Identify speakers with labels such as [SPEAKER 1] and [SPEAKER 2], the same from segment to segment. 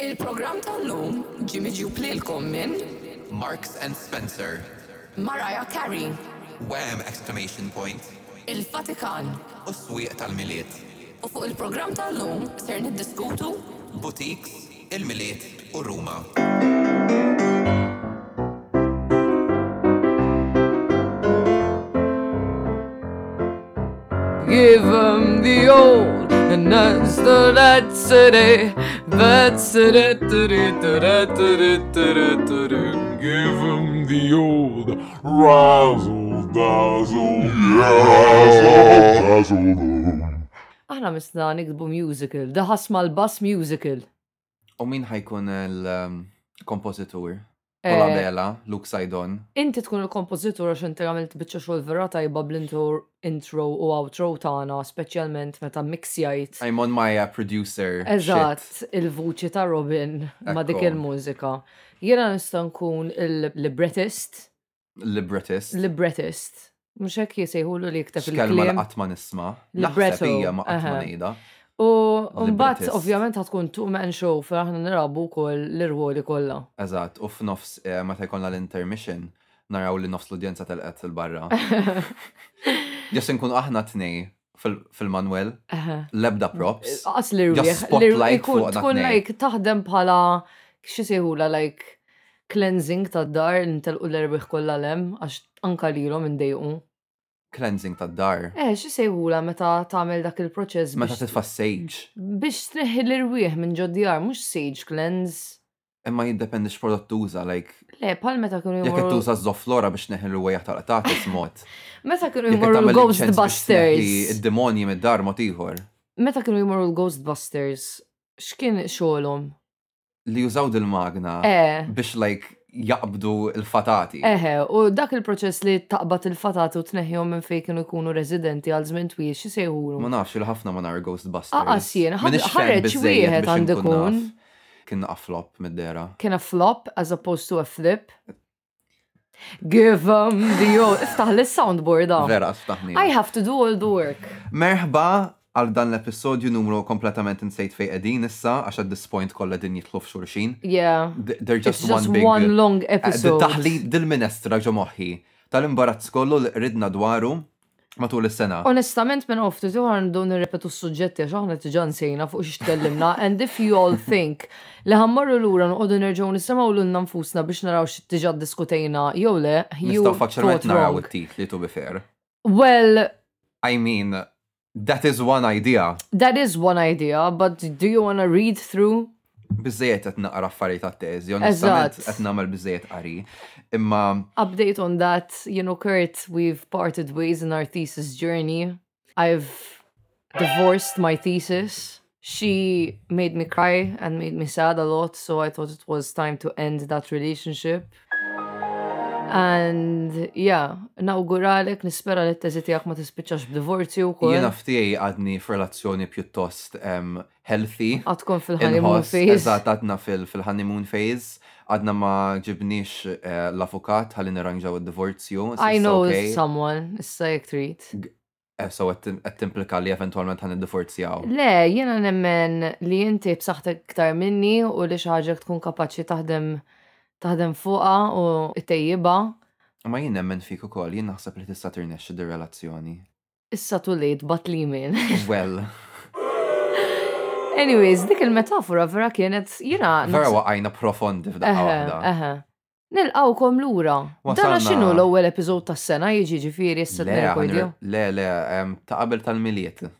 [SPEAKER 1] Il-program tal-lum ġimi ġiplilkom minn
[SPEAKER 2] Marks and Spencer.
[SPEAKER 1] Mariah Carey,
[SPEAKER 2] Wham! Exclamation point.
[SPEAKER 1] il-Vatikan.
[SPEAKER 2] U s-swieq tal-miliet.
[SPEAKER 1] U fuq il-program tal-lum ser niddiskutu
[SPEAKER 2] Boutiques, il-miliet u Ruma.
[SPEAKER 3] Give 'em the old and that's the that's it eh. that's it eh, tudu, tudu, tudu, tudu, tudu.
[SPEAKER 4] Give him the old razzle dazzle. Yeah, razzle dazzle.
[SPEAKER 3] Aħna misna nikdbu musical, daħas mal-bass musical.
[SPEAKER 5] U min ħajkun il-kompozitur?
[SPEAKER 3] Eh.
[SPEAKER 5] Oladela, Luke Sajdon.
[SPEAKER 3] Inti tkun il-kompozitur għax inti għamilt bitċa xogħol vera tajba bl-intur intro u outro tagħna, speċjalment meta mixjajt.
[SPEAKER 5] I'm on my uh, producer. shit.
[SPEAKER 3] Eżatt, il-vuċi ta' Robin ma' dik
[SPEAKER 5] Ekku.
[SPEAKER 3] il-mużika. Jiena nista' nkun il-librettist,
[SPEAKER 5] Librettist.
[SPEAKER 3] librettist. Mhux hekk jisejħulu li jikteb
[SPEAKER 5] X'kelma
[SPEAKER 3] il-kliem.
[SPEAKER 5] laqat ma nisma.
[SPEAKER 3] Libretto,
[SPEAKER 5] Naħseb hija ma qatt ma
[SPEAKER 3] aha.
[SPEAKER 5] ngħidha.
[SPEAKER 3] U mbagħad
[SPEAKER 5] Librettist.
[SPEAKER 3] ovvjament ħatkun tuq man show fejn aħna nirabu wkoll l-irwoli kollha.
[SPEAKER 5] Eżatt, u f'nofs eh, meta jkollna l-intermission naraw li nofs l-udjenza telqet il-barra. Ġas nkun aħna tnej fil- fil-manwel, lebda props.
[SPEAKER 3] Qas l-irwieħ.
[SPEAKER 5] Just spotlight fuq
[SPEAKER 3] Tkun
[SPEAKER 5] natnej.
[SPEAKER 3] like taħdem bħala xi sejħula like cleansing tad-dar intelqu l-irwieħ kollha lem għax anka lilhom indejqu.
[SPEAKER 5] Cleansing tad-dar.
[SPEAKER 3] Eh, xi sejħula meta tagħmel dak il-proċess
[SPEAKER 5] Meta
[SPEAKER 3] biex
[SPEAKER 5] titfa' sage.
[SPEAKER 3] biex tneħħi l-irwieħ minn ġoddjar, mhux sage cleanse.
[SPEAKER 5] Imma jiddependi x'prodott tuża, like
[SPEAKER 3] Le, pal meta kienu
[SPEAKER 5] jekk qed
[SPEAKER 3] jmorru.
[SPEAKER 5] tuża żofflora biex neħilu wejja tal-qatatis mod.
[SPEAKER 3] Meta kienu
[SPEAKER 5] Jekk qed
[SPEAKER 3] jmorru
[SPEAKER 5] tagħmel incense biex tneħħi
[SPEAKER 3] l-Ghostbusters.
[SPEAKER 5] Id-demonji mid-dar mod ieħor.
[SPEAKER 3] Meta kienu jmorru l-Ghostbusters, x'kien xogħolhom?
[SPEAKER 5] Li jużaw dil-magna
[SPEAKER 3] Eh.
[SPEAKER 5] biex like jaqbdu l-fatati.
[SPEAKER 3] Eħe, u dak il-proċess li taqbad il-fatat u tneħjom minn fejn kienu jkunu residenti għal żmien twil xi
[SPEAKER 5] Ma
[SPEAKER 3] sejħulu.
[SPEAKER 5] nafx il ħafna ma nar Ghostbusters.
[SPEAKER 3] Aqas jien, Ah, ħad-
[SPEAKER 5] Minix fan
[SPEAKER 3] ħareġ
[SPEAKER 5] biżżejjed
[SPEAKER 3] wieħed
[SPEAKER 5] biex
[SPEAKER 3] għandu
[SPEAKER 5] inkun naf.
[SPEAKER 3] kun.
[SPEAKER 5] Kien afflop mid-dera.
[SPEAKER 3] Kien a flop as opposed to a flip. Give 'em the old. Iftaħ l-soundboard da.
[SPEAKER 5] Vera, staħni.
[SPEAKER 3] ah. I have to do all the work.
[SPEAKER 5] Merħba għal dan l-episodju numru kompletament insejt fej edin issa, għax at this point kolla din jitlu f'xurxin.
[SPEAKER 3] Yeah.
[SPEAKER 5] Th- They're
[SPEAKER 3] It's
[SPEAKER 5] just,
[SPEAKER 3] just
[SPEAKER 5] one big... uh,
[SPEAKER 3] one long episode.
[SPEAKER 5] Taħli dil-minestra ġo moħħi. Tal-imbarazz kollu li ridna dwaru matul is-sena.
[SPEAKER 3] Oh, Onestament minn oftu tu għan dun nirrepetu s-sujġetti għax aħna tiġan sejna fuq xiex tkellimna and if you all think li ħammarru l-ura nqodu nerġgħu nisimgħu lilna nfusna biex naraw xi tiġa diskutejna jew le you
[SPEAKER 5] Nistaw faċċerment
[SPEAKER 3] thought
[SPEAKER 5] naraw
[SPEAKER 3] wrong.
[SPEAKER 5] it-titli to be fair.
[SPEAKER 3] Well,
[SPEAKER 5] I mean, that is one idea.
[SPEAKER 3] that is one idea, but do you wanna read through?
[SPEAKER 5] Bizzejet qed naqra affarijiet għat-teżi, onestament
[SPEAKER 3] Eżatt.
[SPEAKER 5] qed nagħmel bizzejet qari. Imma
[SPEAKER 3] Update on that, you know, Kurt, we've parted ways in our thesis journey. I've divorced my thesis. She made me cry and made me sad a lot, so I thought it was time to end that relationship. And yeah, nawguralek nispera li t-teżi tijak ma tispiċax b'divorzju u
[SPEAKER 5] jiena
[SPEAKER 3] kol.
[SPEAKER 5] ftijaj għadni f'relazzjoni pjuttost em, healthy.
[SPEAKER 3] Għatkon fil-honeymoon
[SPEAKER 5] Inħoss,
[SPEAKER 3] phase.
[SPEAKER 5] eżatt għadna fil- fil-honeymoon phase, għadna ma ġibniex eh, l-avukat għalli nirranġaw id-divorzju. so
[SPEAKER 3] I
[SPEAKER 5] it's
[SPEAKER 3] know
[SPEAKER 5] okay.
[SPEAKER 3] someone, issa jek trid.
[SPEAKER 5] Eh, So għed timplika li eventualment għan id-divorzjaw.
[SPEAKER 3] Le, jiena nemmen li inti b'saħħtek iktar minni u li xi ħaġa tkun kapaċi taħdem taħdem fuqha u tejjiba.
[SPEAKER 5] Ma jien nemmen fik ukoll, jien naħseb li tista' tirnexxi dir-relazzjoni.
[SPEAKER 3] Issa too late, bat li min.
[SPEAKER 5] Well,
[SPEAKER 3] Anyways, dik il-metafora vera kienet jiena.
[SPEAKER 5] vera
[SPEAKER 3] naħseb-
[SPEAKER 5] waqajna profondi f'daqqa
[SPEAKER 3] Eħe,
[SPEAKER 5] waħda.
[SPEAKER 3] eħe. Nilqawkom lura. Dana
[SPEAKER 5] Wasalna-
[SPEAKER 3] x'inhu l-ewwel epiżod tas-sena jiġi ġifieri issa
[SPEAKER 5] Le,
[SPEAKER 3] t-nerkordju.
[SPEAKER 5] ħanir- le, le, em, ta' qabel tal-miliet.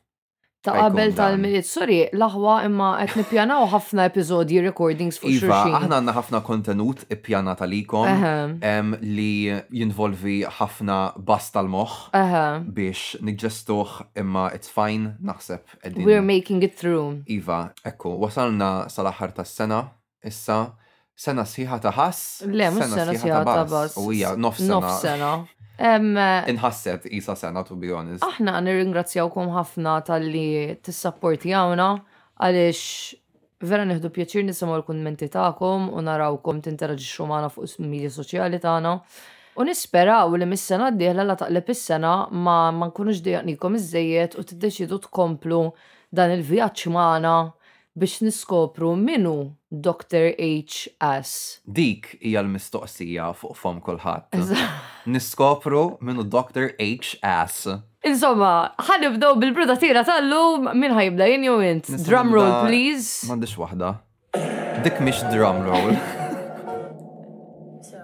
[SPEAKER 3] Ta'
[SPEAKER 5] ħajkun dan.
[SPEAKER 3] qabel tal-miliet, sorry, l-aħwa imma qed nippjanaw ħafna episodji recordings fuq
[SPEAKER 5] Iva,
[SPEAKER 3] xulxin.
[SPEAKER 5] aħna għanna ħafna kontenut ippjana talikom
[SPEAKER 3] Eħe,
[SPEAKER 5] em, li jinvolvi ħafna bas tal-moħ
[SPEAKER 3] eħe.
[SPEAKER 5] biex nġestuħ imma it's fine naħseb edin.
[SPEAKER 3] We're making it through.
[SPEAKER 5] Iva, ekku, wasalna sal-axar tas sena issa sena sħiħa ta' ħass.
[SPEAKER 3] Le, mux sena sija ta' bas.
[SPEAKER 5] U hija nof
[SPEAKER 3] Nof
[SPEAKER 5] sena.
[SPEAKER 3] sena. Em,
[SPEAKER 5] Inħasset isa sena, to be honest.
[SPEAKER 3] aħna nirringrazzjawkom ħafna tal-li t-sapportijawna għalix vera neħdu pjaċir nisimaw l-kommenti ta'kom u narawkom t-interagġiċu maħna fuq il-medja soċjali ta'na. U nisperaw li mis-sena d-dihla la taqleb is-sena ma ma nkunux dejaqnikom iż-żejjed u t-deċidu tkomplu dan il-vjaċ maħna biex niskopru minu Dr. H. S.
[SPEAKER 5] Dik hija l-mistoqsija fuq fom kulħadd. Niskopru minnu Dr. H. S.
[SPEAKER 3] Insomma, ħanibdow bil-brudatira tal-lum minn ħajibda jien jew int.
[SPEAKER 5] Nista'
[SPEAKER 3] Drum roll,
[SPEAKER 5] nibda-
[SPEAKER 3] please.
[SPEAKER 5] M'għandix waħda. Dik mhix drum roll.
[SPEAKER 6] So,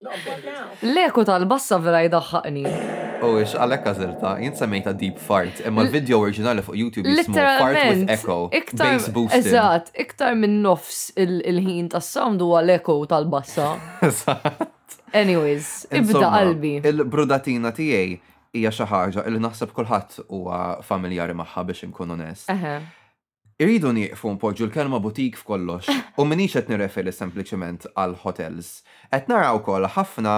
[SPEAKER 6] what now?
[SPEAKER 3] L-eku tal-bassa vera jidaħħaqni.
[SPEAKER 5] U ix għalhekk għażilta, jien semmejta deep fart, imma l-video oriġinali fuq YouTube jismu Fart with
[SPEAKER 3] Literalment.
[SPEAKER 5] Echo.
[SPEAKER 3] Iktar,
[SPEAKER 5] Bass boosted.
[SPEAKER 3] eżat, iktar minn nofs il- il-ħin tas-sound huwa l-eku tal-bassa.
[SPEAKER 5] Eżatt.
[SPEAKER 3] Anyways, ibda
[SPEAKER 5] Insomma,
[SPEAKER 3] qalbi.
[SPEAKER 5] Il-brudatina tiegħi hija xi ħaġa li naħseb kulħadd huwa familjari magħha biex inkun onest.
[SPEAKER 3] Eħe.
[SPEAKER 5] Irridu nieqfu npoġġu l-kelma butik f'kollox u minix qed nirreferi sempliċement għal hotels. Qed naraw ukoll ħafna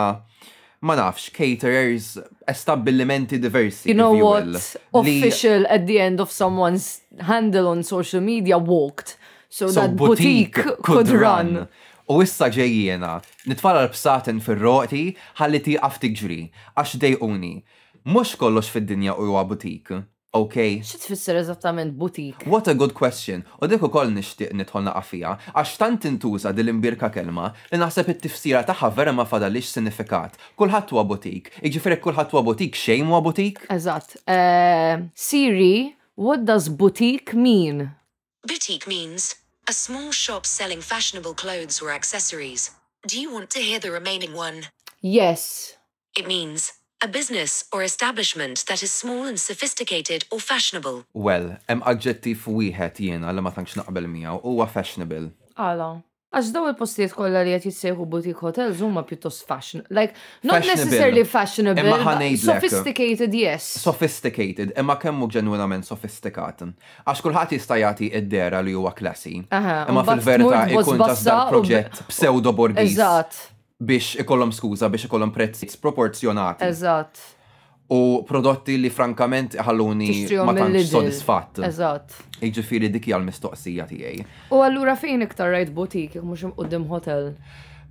[SPEAKER 5] ma nafx caterers estabbillimenti diversi.
[SPEAKER 3] You
[SPEAKER 5] if
[SPEAKER 3] know what?
[SPEAKER 5] will, li-
[SPEAKER 3] Official at the end of someone's handle on social media walked. So,
[SPEAKER 5] So
[SPEAKER 3] that boutique, could run.
[SPEAKER 5] U issa ġejjena, nitfala l-bsatin fil-roqti, ħalli tiqaf tiġri, għax dejquni. Mux kollox fid-dinja u huwa butik, ok?
[SPEAKER 3] Xi tfisser eżattament boutique?
[SPEAKER 5] What a good question. U dik ukoll nixtieq nidħol naqa' fiha għax tant intuża din l-imbirka kelma li naħseb it-tifsira tagħha vera ma fadalix sinifikat. Kulħadd huwa butik, jiġifieri kulħadd huwa butik xejn huwa butik?
[SPEAKER 3] Eżatt. Eh, Siri, what does boutique mean?
[SPEAKER 7] Boutique means a small shop selling fashionable clothes or accessories. Do you want to hear the remaining one?
[SPEAKER 3] Yes.
[SPEAKER 7] It means a business or establishment that is small and sophisticated or fashionable.
[SPEAKER 5] Well, hemm aġġettiv wieħed jiena li ma tantx naqbel miegħu huwa fashionable.
[SPEAKER 3] Għala. Għax daw il-postijiet kollha li qed jissejħu boutique hotels huma pjuttost fashion. Like, not
[SPEAKER 5] Fashionable.
[SPEAKER 3] necessarily fashionable,
[SPEAKER 5] Imma
[SPEAKER 3] but
[SPEAKER 5] ħanejdlek.
[SPEAKER 3] sophisticated, yes.
[SPEAKER 5] sophisticated, imma kemmu ġenwinament sofistikat. Għax kulħadd jista' jagħti id-dera li huwa klassi.
[SPEAKER 3] Aha,
[SPEAKER 5] Imma
[SPEAKER 3] un bat
[SPEAKER 5] fil-verità
[SPEAKER 3] tmur
[SPEAKER 5] ikun
[SPEAKER 3] tbozz
[SPEAKER 5] tas dal
[SPEAKER 3] bassa u-
[SPEAKER 5] proġett pseudo borgis
[SPEAKER 3] Eżatt,
[SPEAKER 5] biex ikollhom skuża biex ikollhom prezzi sproporzjonati
[SPEAKER 3] eżatt.
[SPEAKER 5] u prodotti li frankament ħalluni
[SPEAKER 3] Tixtrihom
[SPEAKER 5] ma tantx
[SPEAKER 3] mill-Lidl.
[SPEAKER 5] sodisfatt.
[SPEAKER 3] Eżatt.
[SPEAKER 5] Jiġifieri dik hija l-mistoqsija tiegħi.
[SPEAKER 3] U allura fejn iktar rajt butik, jek mux imqoddim hotel?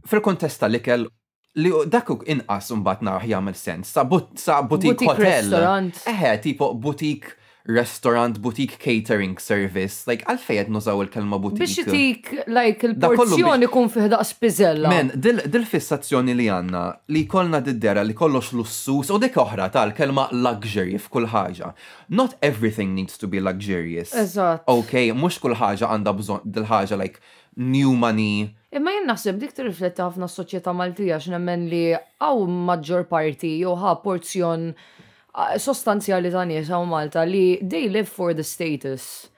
[SPEAKER 5] Fil-kontest tal-ikel li u- dak u inqas imbagħad naraħ jagħmel sens sa but sa butik
[SPEAKER 3] Boutique
[SPEAKER 5] hotel.
[SPEAKER 3] restaurant.
[SPEAKER 5] Eħe, tipo butik restaurant, butik catering service, like għalfejn qed nużaw il-kelma butik.
[SPEAKER 3] Biex jitik, like,
[SPEAKER 5] Da kollu biex- Mela,
[SPEAKER 3] il-porzjoni kun fiħdaq spizella.
[SPEAKER 5] Men, dil, dil fissazzjoni li għanna, li kolna diddera li kollox lussus u dik oħra tal-kelma luxury f'kull ħaġa. Not everything needs to be luxurious.
[SPEAKER 3] Eżatt.
[SPEAKER 5] Ok, mux kull ħaġa għanda bżon dil-ħaġa like new money.
[SPEAKER 3] Imma jien naħseb dik tirrifletti ħafna s-soċjetà Maltija x'nemmen li għaw maġġor parti jew ħa porzjon ah, sostanzjali ta' nies hawn Malta li they live for the status.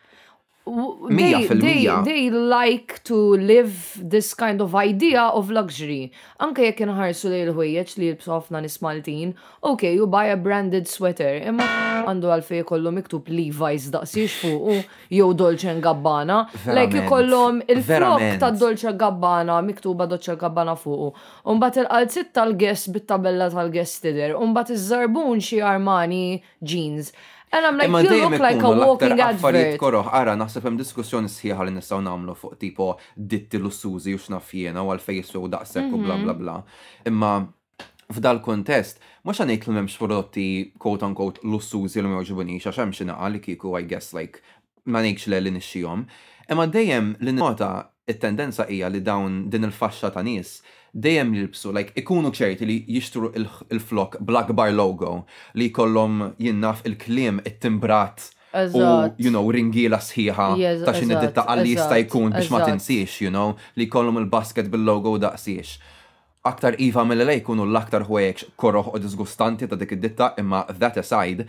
[SPEAKER 3] W-
[SPEAKER 5] Mija
[SPEAKER 3] they-
[SPEAKER 5] fil-mija.
[SPEAKER 3] They, they like to live this kind of idea of luxury. Anke jekk inħarsu lejn il-ħwejjeġ li jilbsu ħafna nies Maltin, okay, you buy a branded sweater, imma għandu għalfej kollu miktub Levi's daqsiex fuqu jew Dolce Gabbana.
[SPEAKER 5] Verament,
[SPEAKER 3] Like ikollhom il-frok
[SPEAKER 5] verament.
[SPEAKER 3] ta' Dolce Gabbana, miktuba Dolce Gabbana fuqu. Umbat il-qalzit tal-guest bit-tabella tal-guest tider. Umbat iż-żarbun xi Armani jeans. And I'm like,
[SPEAKER 5] Imma
[SPEAKER 3] you
[SPEAKER 5] dejjem
[SPEAKER 3] look like a
[SPEAKER 5] ikunu l-aktar
[SPEAKER 3] walking
[SPEAKER 5] affarijiet
[SPEAKER 3] advert.
[SPEAKER 5] koroħ, ara naħseb hemm diskussjoni sħiħa li nistgħu nagħmlu fuq tipo ditti lussużi u x'naf jiena u għalfejn jiswew daqshekk u bla bla bla. Imma f'dal kontest, mhux għan ngħid li m'hemmx prodotti quote unquote lussużi li ma jogħġibunix għax hemm xi naqa' li kieku I guess like ma ngħidx le li nixxihom. Imma dejjem li nota it-tendenza hija li dawn din il-faxxa ta' nies dejjem jilbsu, like, ikunu ċerti li jixtru il- il-flok bl-akbar logo li kollom jinnaf il-klim, it-timbrat, u,
[SPEAKER 3] Eżatt.
[SPEAKER 5] you know, ringiela sħiħa
[SPEAKER 3] Yes,
[SPEAKER 5] ta' xin
[SPEAKER 3] eżatt,
[SPEAKER 5] id-ditta għalli jista'
[SPEAKER 3] eżatt,
[SPEAKER 5] jkun biex ma
[SPEAKER 3] eżatt.
[SPEAKER 5] tinsiex, you know, li kollom il-basket bil-logo u daqsiex. Aktar iva mill-lej kunu l-aktar ħwejek koroħ u disgustanti ta' dik id-ditta, imma that aside,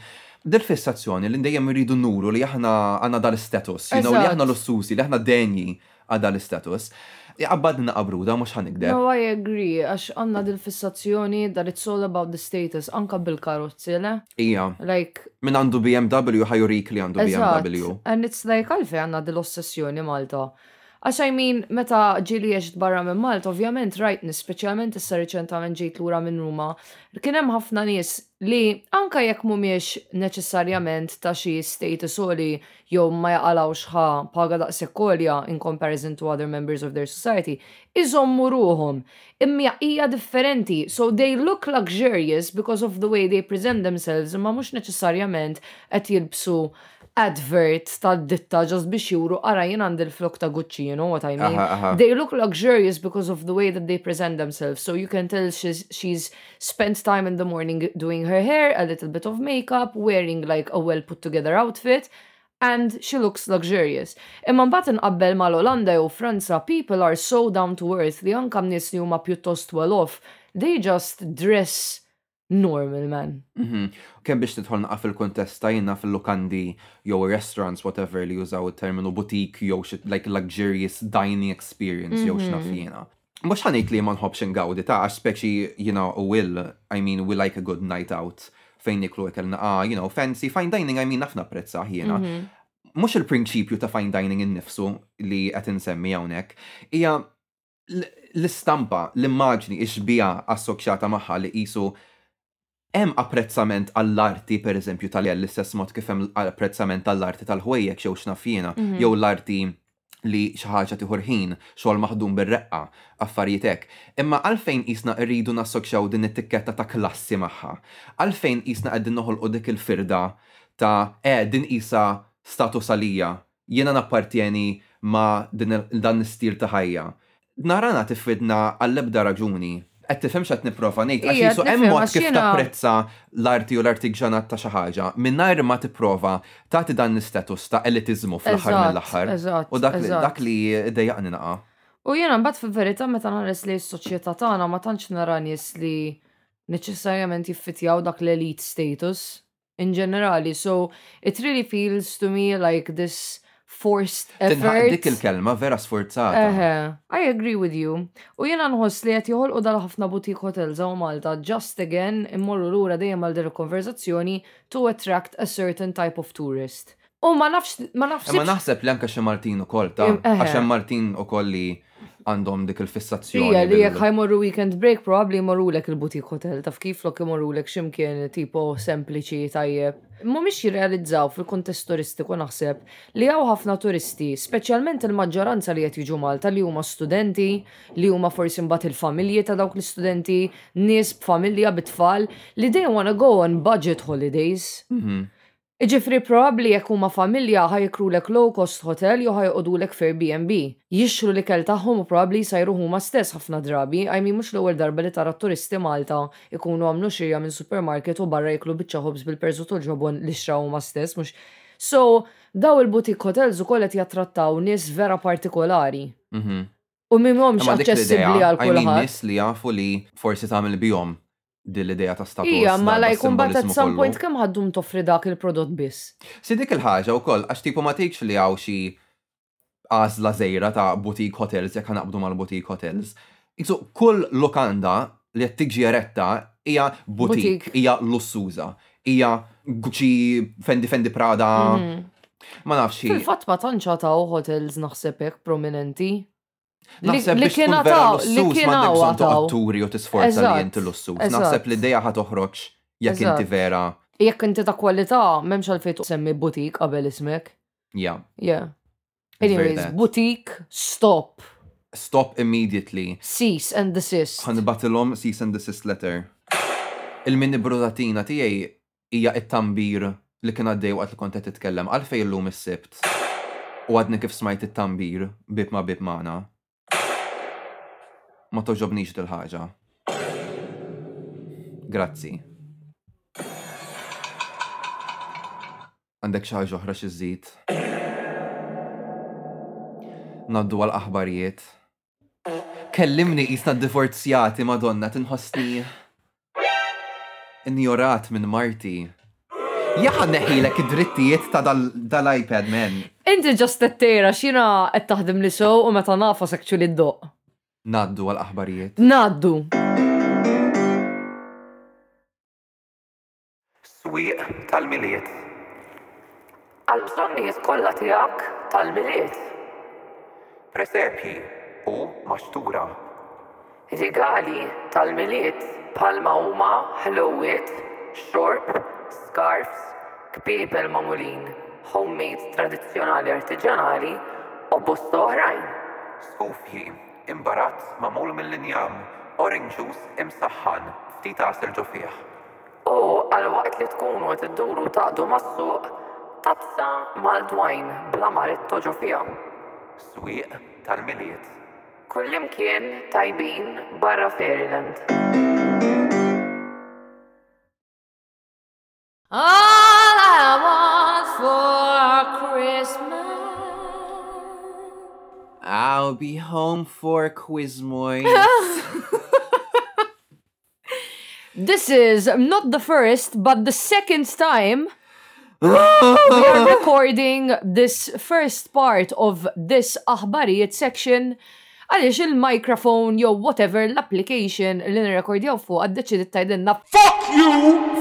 [SPEAKER 5] dil-fissazzjoni li dejjem rridu nuru li aħna għanna dal-status, you know, li
[SPEAKER 3] Eżatt.
[SPEAKER 5] aħna l-ussusi, li aħna denji għadha l-status. Għabbadna qabruda, mux ħanikdeb.
[SPEAKER 3] No, I agree, għax għanna dil-fissazzjoni that it's all about the status, anka bil-karozzi, le?
[SPEAKER 5] Ija,
[SPEAKER 3] Like,
[SPEAKER 5] Min għandu BMW, ħajurik li għandu
[SPEAKER 3] Eżatt,
[SPEAKER 5] BMW.
[SPEAKER 3] And it's like, għalfej għanna dil-ossessjoni Malta. Għax I mean, meta ġili jieġt barra minn Malta, ovvjament rajtni, specialment issa reċentament ġejt lura minn Ruma, kien hemm ħafna nies li anka jekk mhumiex neċessarjament ta' xi status oli jew ma jaqalawx ħa paga daqshekk għolja in comparison to other members of their society, iżommu ruhom. Imma hija differenti, so they look luxurious because of the way they present themselves, imma mhux neċessarjament qed jilbsu advert tal-ditta just biex juru ara jien għandi l-flok ta' Gucci, you know what I mean?
[SPEAKER 5] Aha, aha.
[SPEAKER 3] They look luxurious because of the way that they present themselves. So you can tell she's, she's spent time in the morning doing her hair, a little bit of makeup, wearing like a well put together outfit. And she looks luxurious. Imma mbagħad inqabbel mal-Olanda jew Franza, people are so down to earth li anke nies li huma pjuttost well off, they just dress normal man.
[SPEAKER 5] Kemm biex nidħol naqaf il-kontest tajna fil-lukandi jew restaurants, whatever li jużaw il-terminu boutique jew xi- like luxurious dining experience jew x'naf jiena. Mhux ħanejt li ma nħobbx ingawdi ta' għax speċi, you know, will, I mean, we like a good night out fejn niklu ikelna, ah, you know, fancy, fine dining, I mean, nafna prezza jiena. Mhux il-prinċipju ta' fine dining innifsu li qed insemmi hawnhekk, hija l- l-istampa, l-immaġni, ix-bija assoċjata magħha li qisu hemm apprezzament għall-arti per eżempju tal-jell l-istess mod kif hemm apprezzament għall-arti tal-ħwejjek xew xnafjina, jew l-arti li xi ħaġa tieħu ħin, xogħol maħdum bir-reqqa, affarijiet hekk. Imma għalfejn qisna rridu nassokxaw din it-tikketta ta' klassi magħha. Għalfejn qisna qegħdin noħolqu dik il-firda ta' eh din qisha status għalija, jiena nappartjeni ma' din il- dan l-istil ta' ħajja. Narana tifidna għall-ebda raġuni. Qed tifhem x'qed nipprova ngħid għax
[SPEAKER 3] Ija,
[SPEAKER 5] jisu hemm
[SPEAKER 3] nifhem,
[SPEAKER 5] mod
[SPEAKER 3] għax
[SPEAKER 5] kif
[SPEAKER 3] jiena-
[SPEAKER 5] tapprezz tazza l-arti u l-artiġanat ta' xi ħaġa mingħajr ma tipprova tagħti dan l-istatus ta' elitiżmu fl-aħħar
[SPEAKER 3] Eżatt,
[SPEAKER 5] mill-aħħar.
[SPEAKER 3] eżatt,
[SPEAKER 5] U dak li
[SPEAKER 3] eżatt.
[SPEAKER 5] dak li dejjaqni naqa.
[SPEAKER 3] U jena mbagħad fil-verità meta nares li s-soċjetà tagħna ma tantx nara nies li neċessarjament jiffitjaw dak l-elite status in ġenerali. So it really feels to me like this forced
[SPEAKER 5] Tinħaq
[SPEAKER 3] effort.
[SPEAKER 5] dik il-kelma vera sforzata.
[SPEAKER 3] Eħe, I agree with you. U jena nħoss li għet joħolqu dal-ħafna butik hotels u Malta, just again, immorru l-ura dejjem għal dir konverzazzjoni to attract a certain type of tourist. U ma nafx, ma nafx.
[SPEAKER 5] Imma naħseb li anke xi Martin ukoll ta'
[SPEAKER 3] Im- eħe.
[SPEAKER 5] għax hemm Martin ukoll li għandhom dik il-fissazzjoni.
[SPEAKER 3] Ija li
[SPEAKER 5] bil-
[SPEAKER 3] jek ħajmorru weekend break, probably jmorru lek il-butik hotel, taf kif lok jmorru lek ximkien tipo sempliċi tajjeb. Mu miex jirrealizzaw fil-kontest turistiku naħseb li għaw ħafna turisti, specialment il-maġġoranza li jett jiġu Malta li huma studenti, li huma forsi mbagħad il-familji ta' dawk l-studenti, nies b'familja bit-tfal, li they wanna go on budget holidays. Iġifri probabli jekk huma familja ħajkru lek low cost hotel jew ħajqodu lek f'Airbnb. Jixxru li kell tagħhom u probabli jsajru huma stess ħafna drabi, I mean mhux l-ewwel darba li tara turisti Malta ikunu għamlu xirja minn supermarket u barra jiklu biċċa ħobs bil-perżu toġobon li xraw huma stess mhux. So, daw il-butik hotels ukoll qed jattrattaw nies vera partikolari.
[SPEAKER 5] Mhm.
[SPEAKER 3] U mimhomx
[SPEAKER 5] Imma dik l-idea,
[SPEAKER 3] aċċessibbli għal
[SPEAKER 5] I mean
[SPEAKER 3] kulħadd.
[SPEAKER 5] nis li jafu li forsi tagħmel bihom din l-idea ta' status.
[SPEAKER 3] Ija, ma
[SPEAKER 5] dan,
[SPEAKER 3] la
[SPEAKER 5] ta'
[SPEAKER 3] jkun bat at
[SPEAKER 5] simbolismu
[SPEAKER 3] some
[SPEAKER 5] kollu.
[SPEAKER 3] point kemm ħaddum toffri dak il-prodott biss.
[SPEAKER 5] Si dik il-ħaġa u koll, għax tipo ma tikx li għaw xi għazla zejra ta' boutique hotels, jek naqbdu mal boutique hotels. Isu, kull lokanda li qed tiġi eretta hija boutique,
[SPEAKER 3] Boutique.
[SPEAKER 5] hija lussuża, hija Gucci, Fendi Fendi Prada,
[SPEAKER 3] Hmm. Mhm.
[SPEAKER 5] ma nafx xi.
[SPEAKER 3] Fil-fat ma tantx ta' hotels naħseb hekk prominenti. Li
[SPEAKER 5] Naħseb
[SPEAKER 3] li
[SPEAKER 5] biex tkun
[SPEAKER 3] kien
[SPEAKER 5] vera
[SPEAKER 3] għataw, li
[SPEAKER 5] lussuż
[SPEAKER 3] kien
[SPEAKER 5] m'għandek
[SPEAKER 3] għaw
[SPEAKER 5] bżonn
[SPEAKER 3] għataw.
[SPEAKER 5] toqgħod turi u tisforza li
[SPEAKER 3] Eżatt,
[SPEAKER 5] inti lussuż.
[SPEAKER 3] eżatt.
[SPEAKER 5] Naħseb li d-dejja ħad toħroġ jekk
[SPEAKER 3] Eżatt.
[SPEAKER 5] inti vera,
[SPEAKER 3] Jekk inti ta' kwalità, m'hemmx għalfejn semmi butik qabel ismek.
[SPEAKER 5] ja.
[SPEAKER 3] Yeah.
[SPEAKER 5] It's very
[SPEAKER 3] Anyways,
[SPEAKER 5] that.
[SPEAKER 3] butik, stop,
[SPEAKER 5] Stop immediately.
[SPEAKER 3] cease and desist.
[SPEAKER 5] ħanibatilhom cease and desist letter. Il-mini brudatina tiegħi hija it-tambir li kien għaddej waqt li kont qed titkellem għalfej illum is-sibt. U għadni kif smajt it-tambir bib ma bib magħna. Ma toġobnix dil-ħaġa. Grazzi. Għandek xi ħaġa oħra xi żid. Naddu għal aħbarijiet. Kellimni jisna divorzjati madonna tinħossni injorat minn Marti. Jaħan neħilek id-drittijiet ta' dal- dal-iPad, man.
[SPEAKER 3] Inti ġast t-tera xina qed taħdem li sew u meta nafas actually d-doq.
[SPEAKER 5] Naddu għal-aħbarijiet.
[SPEAKER 3] Naddu.
[SPEAKER 2] Swieq tal-miliet.
[SPEAKER 1] Għal-bżonnijiet kollha tiegħek tal-miliet.
[SPEAKER 2] Presepji u maxtura.
[SPEAKER 1] Rigali tal-miliet palma huma ħlowiet, xorb, scarfs, kbib il-mamulin, homemade tradizzjonali artiġjanali u bosta oħrajn.
[SPEAKER 2] Skufji, imbarazz mamul mill-injam, orange juice imsaħħan, ftit għasel ġo fih.
[SPEAKER 1] U għal waqt li tkunu qed idduru taqdu mas-suq, tazza mal-dwajn bla maretto ġo fija.
[SPEAKER 2] Swieq tal-miliet.
[SPEAKER 1] Kullimkien tajbin barra Fairyland.
[SPEAKER 3] All I want for Christmas.
[SPEAKER 5] I'll be home for Quizmoy.
[SPEAKER 3] This is not the first, but the second time we are recording this first part of this aħbarijiet section għaliex il-microphone jew whatever l-application li nirrekordjaw fuq għaddeċi tajdinna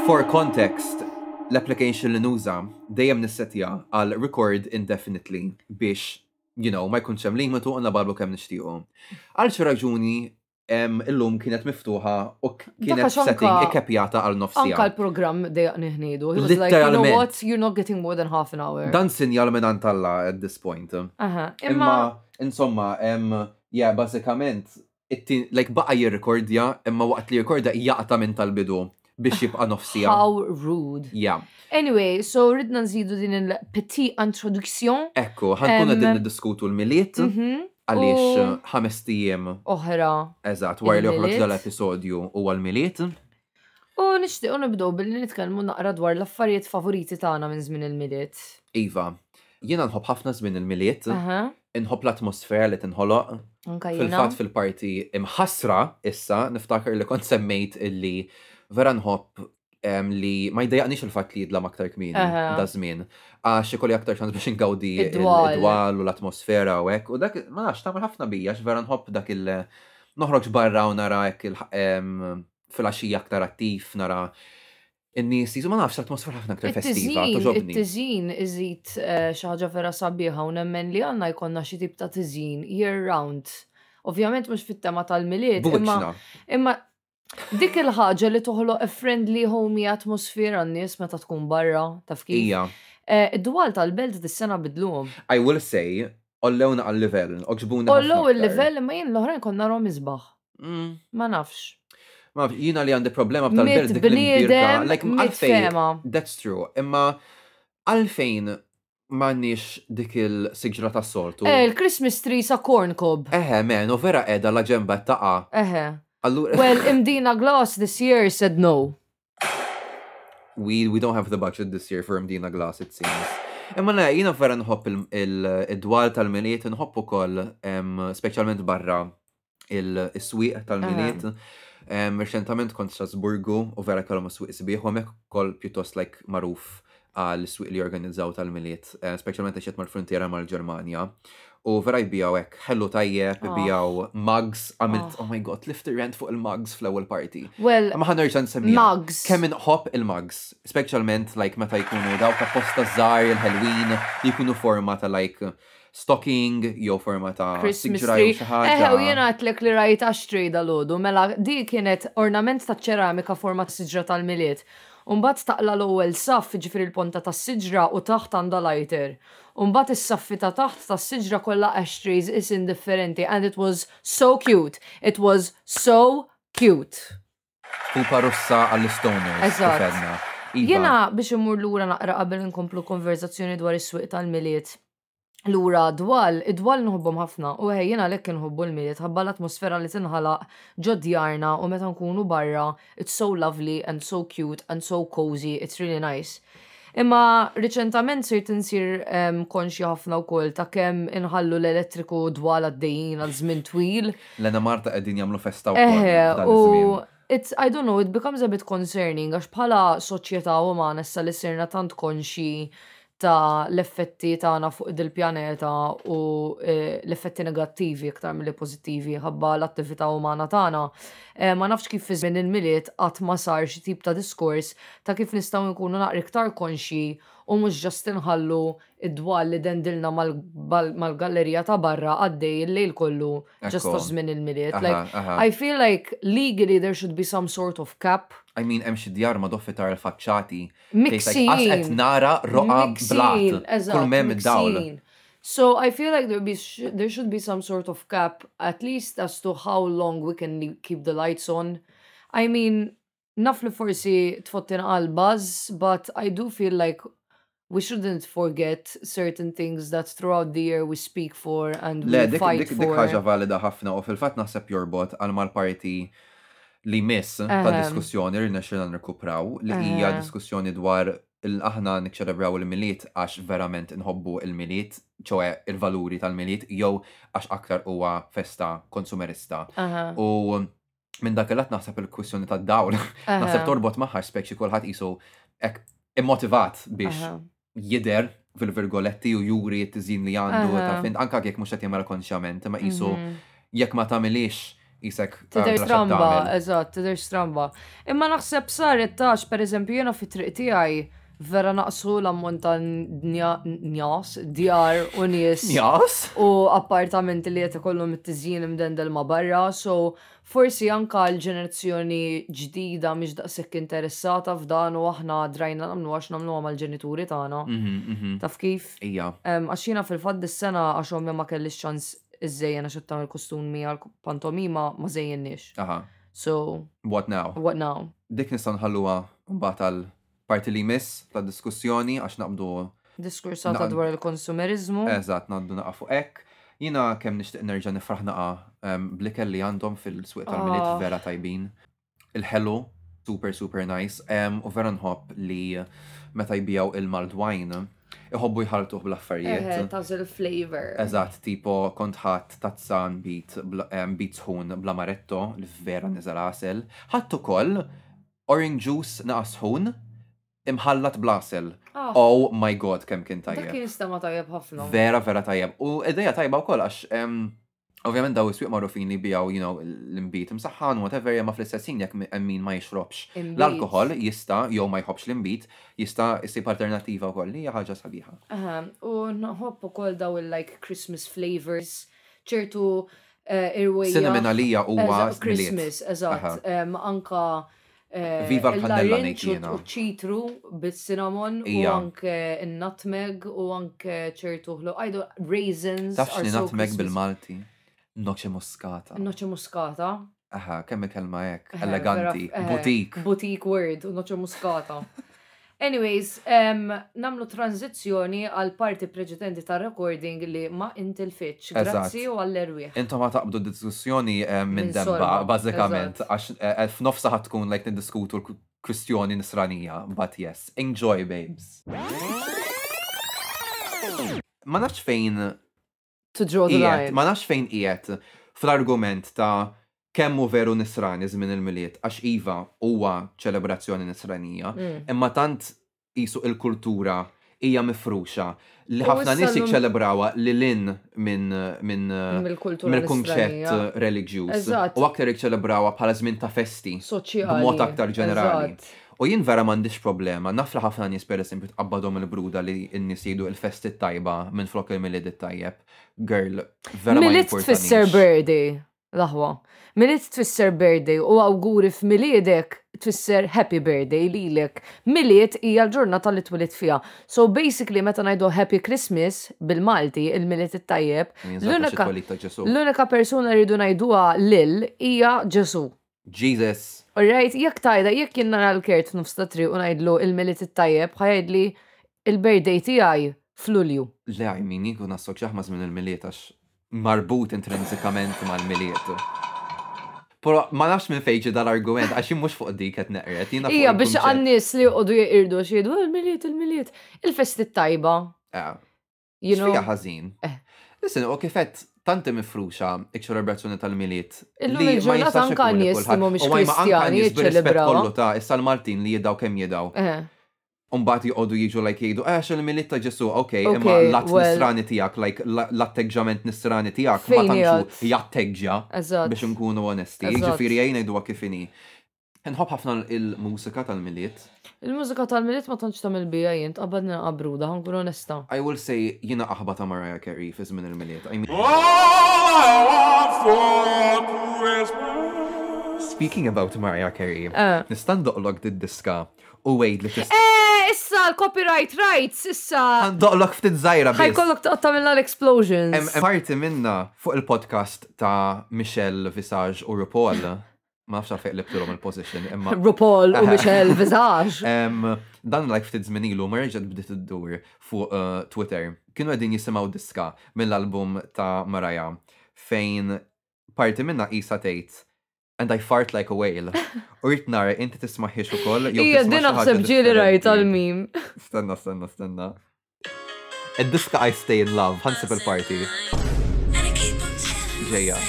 [SPEAKER 5] For context, l-application li nuża dejjem nissetja għal record indefinitely biex, you know, ma jkunx hemm limitu u nabarbu kemm nixtiequ. Għal xi raġuni em, illum kienet miftuħa u k- kienet
[SPEAKER 3] Daqax anka-
[SPEAKER 5] setting ikkepjata għal
[SPEAKER 3] anka
[SPEAKER 5] nofsija.
[SPEAKER 3] l-programm dejaqni ħnidu. He was like, you know
[SPEAKER 5] Literalment.
[SPEAKER 3] what, you're not getting more than half an hour.
[SPEAKER 5] Dan sinjal minn Antalla at this point.
[SPEAKER 3] Aha, imma
[SPEAKER 5] Imma, insomma, em, yeah, basikament, it-tin- like baqa jirrekordja, imma waqt li jirrekordja jaqta minn tal-bidu biex jibqa nofsija.
[SPEAKER 3] how rude.
[SPEAKER 5] Yeah.
[SPEAKER 3] Anyway, so ridna nżidu din il-petit introduction
[SPEAKER 5] Ekku, ħankun
[SPEAKER 3] Em,
[SPEAKER 5] għedin diskutu l-miliet
[SPEAKER 3] Mhm.
[SPEAKER 5] għaliex
[SPEAKER 3] u-
[SPEAKER 5] uh, ħames tijiem
[SPEAKER 3] oħra.
[SPEAKER 5] eżat wara li joħroġ
[SPEAKER 3] Il-miliet.
[SPEAKER 5] dal-episodju u għal-miliet.
[SPEAKER 3] U nixtiequ nibdew billi nitkellmu naqra dwar l-affarijiet favoriti tagħna minn żmien il-miliet.
[SPEAKER 5] Iva, jiena nħobb ħafna żmien il-miliet,
[SPEAKER 3] Aha,
[SPEAKER 5] nħobb l-atmosfera li tinħoloq.
[SPEAKER 3] anka jiena.
[SPEAKER 5] Fil-fatt fil-parti imħasra issa niftakar li kont semmejt illi vera nħobb em, li ma jdejaqnix il-fatt li jidlam aktar kmini
[SPEAKER 3] Aha.
[SPEAKER 5] da żmien. Għax ikolli aktar ċans biex ingawdi
[SPEAKER 3] Id-dwal.
[SPEAKER 5] il-dwal u l-atmosfera u hekk. U dak, ma nafx, tagħmel ħafna bija, għax vera nħobb dak il- noħroġ barra u nara hekk il- em, fil-għaxija aktar attiv, nara in-nies jisu ma nafx l-atmosfera ħafna aktar festiva,
[SPEAKER 3] It-tiżin,
[SPEAKER 5] toġobni.
[SPEAKER 3] it-tiżin iżid eh, xi ħaġa vera sabiħa u nemmen li għandna jkollna xi tip ta' tiżin year round. Ovvjament mhux fit-tema tal-miliet, imma
[SPEAKER 5] Buċna.
[SPEAKER 3] Imma dik il-ħaġa li toħloq a friendly homey atmosfera n-nies meta tkun barra, taf kif.
[SPEAKER 5] Ija.
[SPEAKER 3] Eh, Id-dwal tal-belt dis-sena bidluhom.
[SPEAKER 5] I will say, ollewna għal-level, oġbuna.
[SPEAKER 3] Ollu il-livell imma jien l-oħrajn konna rom izbaħ.
[SPEAKER 5] Mm.
[SPEAKER 3] Ma nafx.
[SPEAKER 5] Ma nafx, jina li għandi problema b'tal-belt dik l-imbirka.
[SPEAKER 3] Mit-bniedem,
[SPEAKER 5] Like, għalfejn,
[SPEAKER 3] mit-fema.
[SPEAKER 5] that's true. Imma għalfejn mannix dik il-sigġra ta' soltu.
[SPEAKER 3] Eh, il-Christmas tree sa' corn cob.
[SPEAKER 5] Eħe, men, u vera edha la ġemba taqa.
[SPEAKER 3] Eħe.
[SPEAKER 5] Allura,
[SPEAKER 3] Well, imdina glass this year said no.
[SPEAKER 5] we, we don't have the budget this year for Mdina Glass, it seems. Imma le, jina vera nħobb il- il- id-dwar tal-miliet, nħobb u koll, specialment barra il-swiq tal-miliet. Em, Reċentament kont Strasburgu u vera kellhom s-swiq sbieħ u hemmhekk ukoll pjuttost like magħruf għal swiq li jorganizzaw tal-miliet, eh, speċjalment għax qed mal-frontiera mal-Ġermanja. U vera jbijaw hekk ħellu tajjeb,
[SPEAKER 3] Ah.
[SPEAKER 5] bijaw mugs, għamilt,
[SPEAKER 3] Ah.
[SPEAKER 5] oh my god, lift the rent fuq il-mugs fl-ewwel party.
[SPEAKER 3] Well,
[SPEAKER 5] Ma ħanerġa' nsemmiha.
[SPEAKER 3] mugs.
[SPEAKER 5] Kemm inħobb il-mugs, speċjalment like meta jkunu dawk apposta żgħar il-Halloween li jkunu forma ta' like stocking jew forma ta'
[SPEAKER 3] Christmas
[SPEAKER 5] sigġra
[SPEAKER 3] tree.
[SPEAKER 5] jew xi
[SPEAKER 3] Eħe, u
[SPEAKER 5] ħaġa.
[SPEAKER 3] jena għatlek li rajt ashtray dal-ħodu, mela di kienet ornament ta' ċeramika format siġra tal-miliet. Umbat taqla l-ewwel saff ġifir il-ponta ta' siġra u taħt għandha lighter. Umbat is-saffi ta' taħt ta' siġra kollha ashtrays is indifferenti and it was so cute. It was so cute.
[SPEAKER 5] Pupa russa għall-Stoners.
[SPEAKER 3] Eżatt.
[SPEAKER 5] kifedna. Iva.
[SPEAKER 3] Jena biex imur lura naqra qabel nkomplu konverzazzjoni dwar is-swieq tal-miliet. Lura dwal, id-dwal nħobbhom ħafna u hej jena lekk nħobbu l-miliet ħabba l-atmosfera li tinħalaq ġodjarna u meta nkunu barra, it's so lovely and so cute and so cozy, it's really nice. Imma riċentament sirt insir em, konxi ħafna wkoll ta' kemm inħallu l-elettriku dwal għaddejjin għal żmien twil.
[SPEAKER 5] Lena Marta qegħdin jagħmlu festa
[SPEAKER 3] Eħe,
[SPEAKER 5] wkoll.
[SPEAKER 3] Eh, u it's, I don't know, it becomes a bit concerning, għax bħala soċjetà umana issa li sirna tant konxi ta' l-effetti tagħna fuq dil-pjaneta u eh, l-effetti negattivi iktar mill pożittivi ħabba l-attività umana tagħna. Eh, ma nafx kif fi żmien il-miliet qatt ma sar xi tip ta' diskors ta' kif nistgħu nkunu naqra iktar konxi u mhux ġast inħallu id-dwal li dendilna mal- bal- mal-gallerija ta' barra għaddej il-lejl kollu ġast
[SPEAKER 5] Ekku.
[SPEAKER 3] ta' żmien il-miliet.
[SPEAKER 5] Aha,
[SPEAKER 3] Like,
[SPEAKER 5] aha.
[SPEAKER 3] I feel like legally there should be some sort of cap.
[SPEAKER 5] I mean, hemm xi djar ma doffi tar il-faċċati.
[SPEAKER 3] Mixin.
[SPEAKER 5] qed nara roqa
[SPEAKER 3] Mixin,
[SPEAKER 5] blat.
[SPEAKER 3] eżatt,
[SPEAKER 5] Kull mem id-dawl.
[SPEAKER 3] mixin. So I feel like there be sh- there should be some sort of cap at least as to how long we can le- keep the lights on. I mean, naf li forsi tfottin għal buzz, but I do feel like we shouldn't forget certain things that throughout the year we speak for and we
[SPEAKER 5] Le, dik
[SPEAKER 3] fight
[SPEAKER 5] dik dik
[SPEAKER 3] for.
[SPEAKER 5] ħaġa valida ħafna u fil-fatt naħseb jorbot għal mal-parti li miss ta'
[SPEAKER 3] Ehem.
[SPEAKER 5] diskussjoni li nexxilna nirkupraw li hija
[SPEAKER 3] Ehem.
[SPEAKER 5] diskussjoni dwar il-aħna nikċelebraw il-miliet għax verament nħobbu il-miliet, ċoħe il-valuri tal-miliet, jew għax aktar huwa festa konsumerista.
[SPEAKER 3] Aha,
[SPEAKER 5] U minn dak il-lat naħseb il-kwissjoni ta' dawl, naħseb
[SPEAKER 3] aha,
[SPEAKER 5] torbot maħħa spekċi kulħadd isu ek immotivat biex
[SPEAKER 3] aha.
[SPEAKER 5] jider fil-virgoletti u juri t-tizin li għandu
[SPEAKER 3] Aha.
[SPEAKER 5] ta' fint, anka jek mux għatjem għal-konxjament, ma jisu
[SPEAKER 3] Mhm.
[SPEAKER 5] jekk ma tamilix jisek
[SPEAKER 3] Tider stramba, eżatt, tider stramba. Imma naħseb saret tax, per eżempju, jena fi triq tiegħi vera naqsu l-ammont ta' nja- njas, djar u nies
[SPEAKER 5] Jas?
[SPEAKER 3] u appartamenti li qed ikollhom it-tiżjien imdendel ma' barra, so forsi anka l-ġenerazzjoni ġdida mhix daqshekk interessata f'dan u aħna drajna nagħmlu għax nagħmluha mal-ġenituri tagħna.
[SPEAKER 5] Mm.
[SPEAKER 3] Taf kif?
[SPEAKER 5] Mhm, Ija.
[SPEAKER 3] Em, Għax jiena fil-fatt dis-sena għax ommi ma kellix ċans iżejjena xi tagħmel kostumi għal pantomima ma żejjenniex.
[SPEAKER 5] Aha.
[SPEAKER 3] So,
[SPEAKER 5] What now?
[SPEAKER 3] what now?
[SPEAKER 5] Dik nista nħalluha mbagħad tal parti li miss ta' diskussjoni għax naqbdu
[SPEAKER 3] Diskursata
[SPEAKER 5] Naqd-
[SPEAKER 3] dwar il-konsumerizmu.
[SPEAKER 5] eżat naqbdu naqa' fuq hekk. Jina kemm nixtieq nerġa' nifraħ naqa' blikel li għandhom fil-swieq
[SPEAKER 3] Ah.
[SPEAKER 5] tal-miliet vera tajbin. Il-ħelu super super nice em, u vera nħobb li meta jbijaw il-maldwajn iħobbu jħaltuh
[SPEAKER 3] Eħe,
[SPEAKER 5] bl-affarijiet.
[SPEAKER 3] taż il-flavor.
[SPEAKER 5] Eżatt, tipo kontħat tazzan bit, bla- em, bit sħun blamaretto, li vera nizal għasel. Ħattu koll, orange juice naqas sħun, imħallat blasel.
[SPEAKER 3] Ah.
[SPEAKER 5] Oh my god, kem kien
[SPEAKER 3] Dak
[SPEAKER 5] tajjeb.
[SPEAKER 3] kien stema tajjeb ħafna.
[SPEAKER 5] Vera, vera tajjeb. U ideja tajba u koll, għax em, ovvjament daw is-swieq marrufin li bijaw, you know, l-imbit msaħħan, whatever, jemma fl-istessin jek min ma jixrobx.
[SPEAKER 3] Imbit.
[SPEAKER 5] L-alkohol jista, jew ma jħobx l-imbit, jista jisib alternativa u koll, li hija ħaġa sabiħa.
[SPEAKER 3] Aha, u nħobb ukoll daw il-like Christmas flavors, ċertu eh, irwejja.
[SPEAKER 5] Cinnamon għalija huwa
[SPEAKER 3] Eżatt, Christmas,
[SPEAKER 5] Aha.
[SPEAKER 3] eżatt. Em, Anka eh,
[SPEAKER 5] Viva l-kannella
[SPEAKER 3] l-orange
[SPEAKER 5] ngħid jiena.
[SPEAKER 3] u ċitru bit-cinnamon u
[SPEAKER 5] Ija.
[SPEAKER 3] anke il-nutmeg u anke ċertu ħlu. Ajdu, raisins.
[SPEAKER 5] Tafx
[SPEAKER 3] are
[SPEAKER 5] li
[SPEAKER 3] so
[SPEAKER 5] natmek
[SPEAKER 3] Christmas.
[SPEAKER 5] bil-Malti? Noċe muskata.
[SPEAKER 3] Noċe muskata.
[SPEAKER 5] Aha, kemm kelma hekk,
[SPEAKER 3] Eh,
[SPEAKER 5] eleganti,
[SPEAKER 3] vera- eh,
[SPEAKER 5] butik.
[SPEAKER 3] Butik word, noċe muskata. Anyways, um, namlu tranzizjoni għal parti preġedenti ta' recording li ma intil fitx.
[SPEAKER 5] Eżatt.
[SPEAKER 3] Grazzi u għall-erwieħ.
[SPEAKER 5] Intom ma taqbdu diskussjoni eh,
[SPEAKER 3] Minn
[SPEAKER 5] minn
[SPEAKER 3] sorba,
[SPEAKER 5] demba, bazzikament,
[SPEAKER 3] eżatt.
[SPEAKER 5] għax eh, f'nofsa ħatkun like niddiskutu l-kwistjoni nisranija, but yes, enjoy babes. Ma nafx fejn
[SPEAKER 3] To draw the
[SPEAKER 5] qiegħed,
[SPEAKER 3] line.
[SPEAKER 5] ma nafx fejn qiegħed fl-argument ta' kemm hu veru nisrani żmien il-miliet għax iva huwa ċelebrazzjoni nisranija.
[SPEAKER 3] Mm.
[SPEAKER 5] imma tant jisu il-kultura hija mifruxa li
[SPEAKER 3] U
[SPEAKER 5] ħafna
[SPEAKER 3] issa
[SPEAKER 5] nies
[SPEAKER 3] l-lum-
[SPEAKER 5] jiċċelebrawa li lin minn minn
[SPEAKER 3] Mill-kultura nisranija.
[SPEAKER 5] mill-kunċett reliġjuż
[SPEAKER 3] Eżatt.
[SPEAKER 5] u aktar jiċċelebrawa bħala żmien ta' festi.
[SPEAKER 3] Soċjali.
[SPEAKER 5] b'mod aktar ġenerali.
[SPEAKER 3] Eżatt.
[SPEAKER 5] U jien vera m'għandix problema, nafla ħafna nies pereżempju tqabbadhom il-bruda li n-nies jgħidu il-festi tajba minn flok il-milid tajjeb. Girl, vera ma
[SPEAKER 3] Miliet
[SPEAKER 5] jimpurtanix.
[SPEAKER 3] tfisser birthday, laħwa. Miliet tfisser birthday u awguri f'miliedek tfisser happy birthday lilek. Miliet hija l-ġurnata li twilid fiha. So basically meta ngħidu happy Christmas bil-Malti il-miliet it-tajjeb,
[SPEAKER 5] Jinżatta xi
[SPEAKER 3] l-unika
[SPEAKER 5] twelid ta' Ġesu.
[SPEAKER 3] l-unika persuna li rridu ngħiduha lil hija Ġesu.
[SPEAKER 5] Jesus.
[SPEAKER 3] Alright, jekk tajda, jekk jien nara l-kert f'nofs ta' triq u ngħidlu il-miliet it-tajjeb, ħajdli il-birthday tiegħi f'Lulju.
[SPEAKER 5] Le, I mean, jikun assoċjaħ ma' żmien il-miliet għax marbut intrinsikament mal-miliet. Pero ma nafx minn fejġi dal-argument, għax jien mhux fuq dik qed neqret. jiena fuq
[SPEAKER 3] Ija, biex
[SPEAKER 5] il-kunċett.
[SPEAKER 3] għannis li għodu jirdu xiedu, il-miliet, il-miliet, il-festi tajba.
[SPEAKER 5] Eh,
[SPEAKER 3] You know,
[SPEAKER 5] x'fija ħażin.
[SPEAKER 3] Eh.
[SPEAKER 5] Listen, u kifet tanti mifruxa iċ-ċelebrazzjoni tal-miliet.
[SPEAKER 3] Illum
[SPEAKER 5] li ma
[SPEAKER 3] il-ġurnata
[SPEAKER 5] jistax
[SPEAKER 3] anka
[SPEAKER 5] ikun li
[SPEAKER 3] nies li
[SPEAKER 5] kulħadd-
[SPEAKER 3] mhumiex
[SPEAKER 5] u ma jma' anka
[SPEAKER 3] Kristjani
[SPEAKER 5] nies bir-rispett
[SPEAKER 3] jiċċelebraw.
[SPEAKER 5] kollu ta' issa l-Maltin li jidaw kemm jidaw.
[SPEAKER 3] eh,
[SPEAKER 5] Umbat jgħodu jiġu like jgħidu, eh, xil miliet ta' ġesu, ok, imma
[SPEAKER 3] Okay,
[SPEAKER 5] l-att
[SPEAKER 3] well-
[SPEAKER 5] nisrani tijak, like la- l-atteġġament nisrani tijak, ma
[SPEAKER 3] Fejn
[SPEAKER 5] tanċu
[SPEAKER 3] jgħod?
[SPEAKER 5] jatteġġa
[SPEAKER 3] eżat.
[SPEAKER 5] biex nkunu onesti.
[SPEAKER 3] Eżatt.
[SPEAKER 5] Ġifiri jgħin jgħidu kifini. Nħob ħafna il-mużika tal-miliet.
[SPEAKER 3] Il-mużika tal-miliet ma tantx tamil bija jien, qabadna qabruda, ħankun onesta.
[SPEAKER 5] I will say jina aħba ta' Mariah Carey fi żmien il-miliet. I mean,
[SPEAKER 4] All I want for Christmas.
[SPEAKER 5] speaking about Mariah Carey,
[SPEAKER 3] Eh.
[SPEAKER 5] nistandoqlok did-diska u wejd li tista.
[SPEAKER 3] Eh, issa l-copyright rights, issa
[SPEAKER 5] Doqlok ftit zaħira biss.
[SPEAKER 3] ħajkollok toqgħod tagħmilna l-explosions.
[SPEAKER 5] Em- em- Parti minna fuq il-podcast ta' Michelle Visage u RuPaul ma nafx għalfejn qlibtilhom il-position imma
[SPEAKER 3] RuPaul u Michelle Visage.
[SPEAKER 5] Em, dan like ftit żmien ilu marriġet bdiet iddur fuq eh, Twitter. Kienu qegħdin jisimgħu diska mill-album ta' Maraja fejn parti minna qisha tgħid And I fart like a whale. Urt nara, inti tismaħiex ukoll. jew
[SPEAKER 3] Ija,
[SPEAKER 5] tisma'
[SPEAKER 3] din
[SPEAKER 5] xi
[SPEAKER 3] naħseb
[SPEAKER 5] ħaġa
[SPEAKER 3] ġieli rajt
[SPEAKER 5] differenti.
[SPEAKER 3] għal-mim.
[SPEAKER 5] Stanna, stanna, stanna. Id-diska I Stay in Love, ħansib il-parti. Ġeja.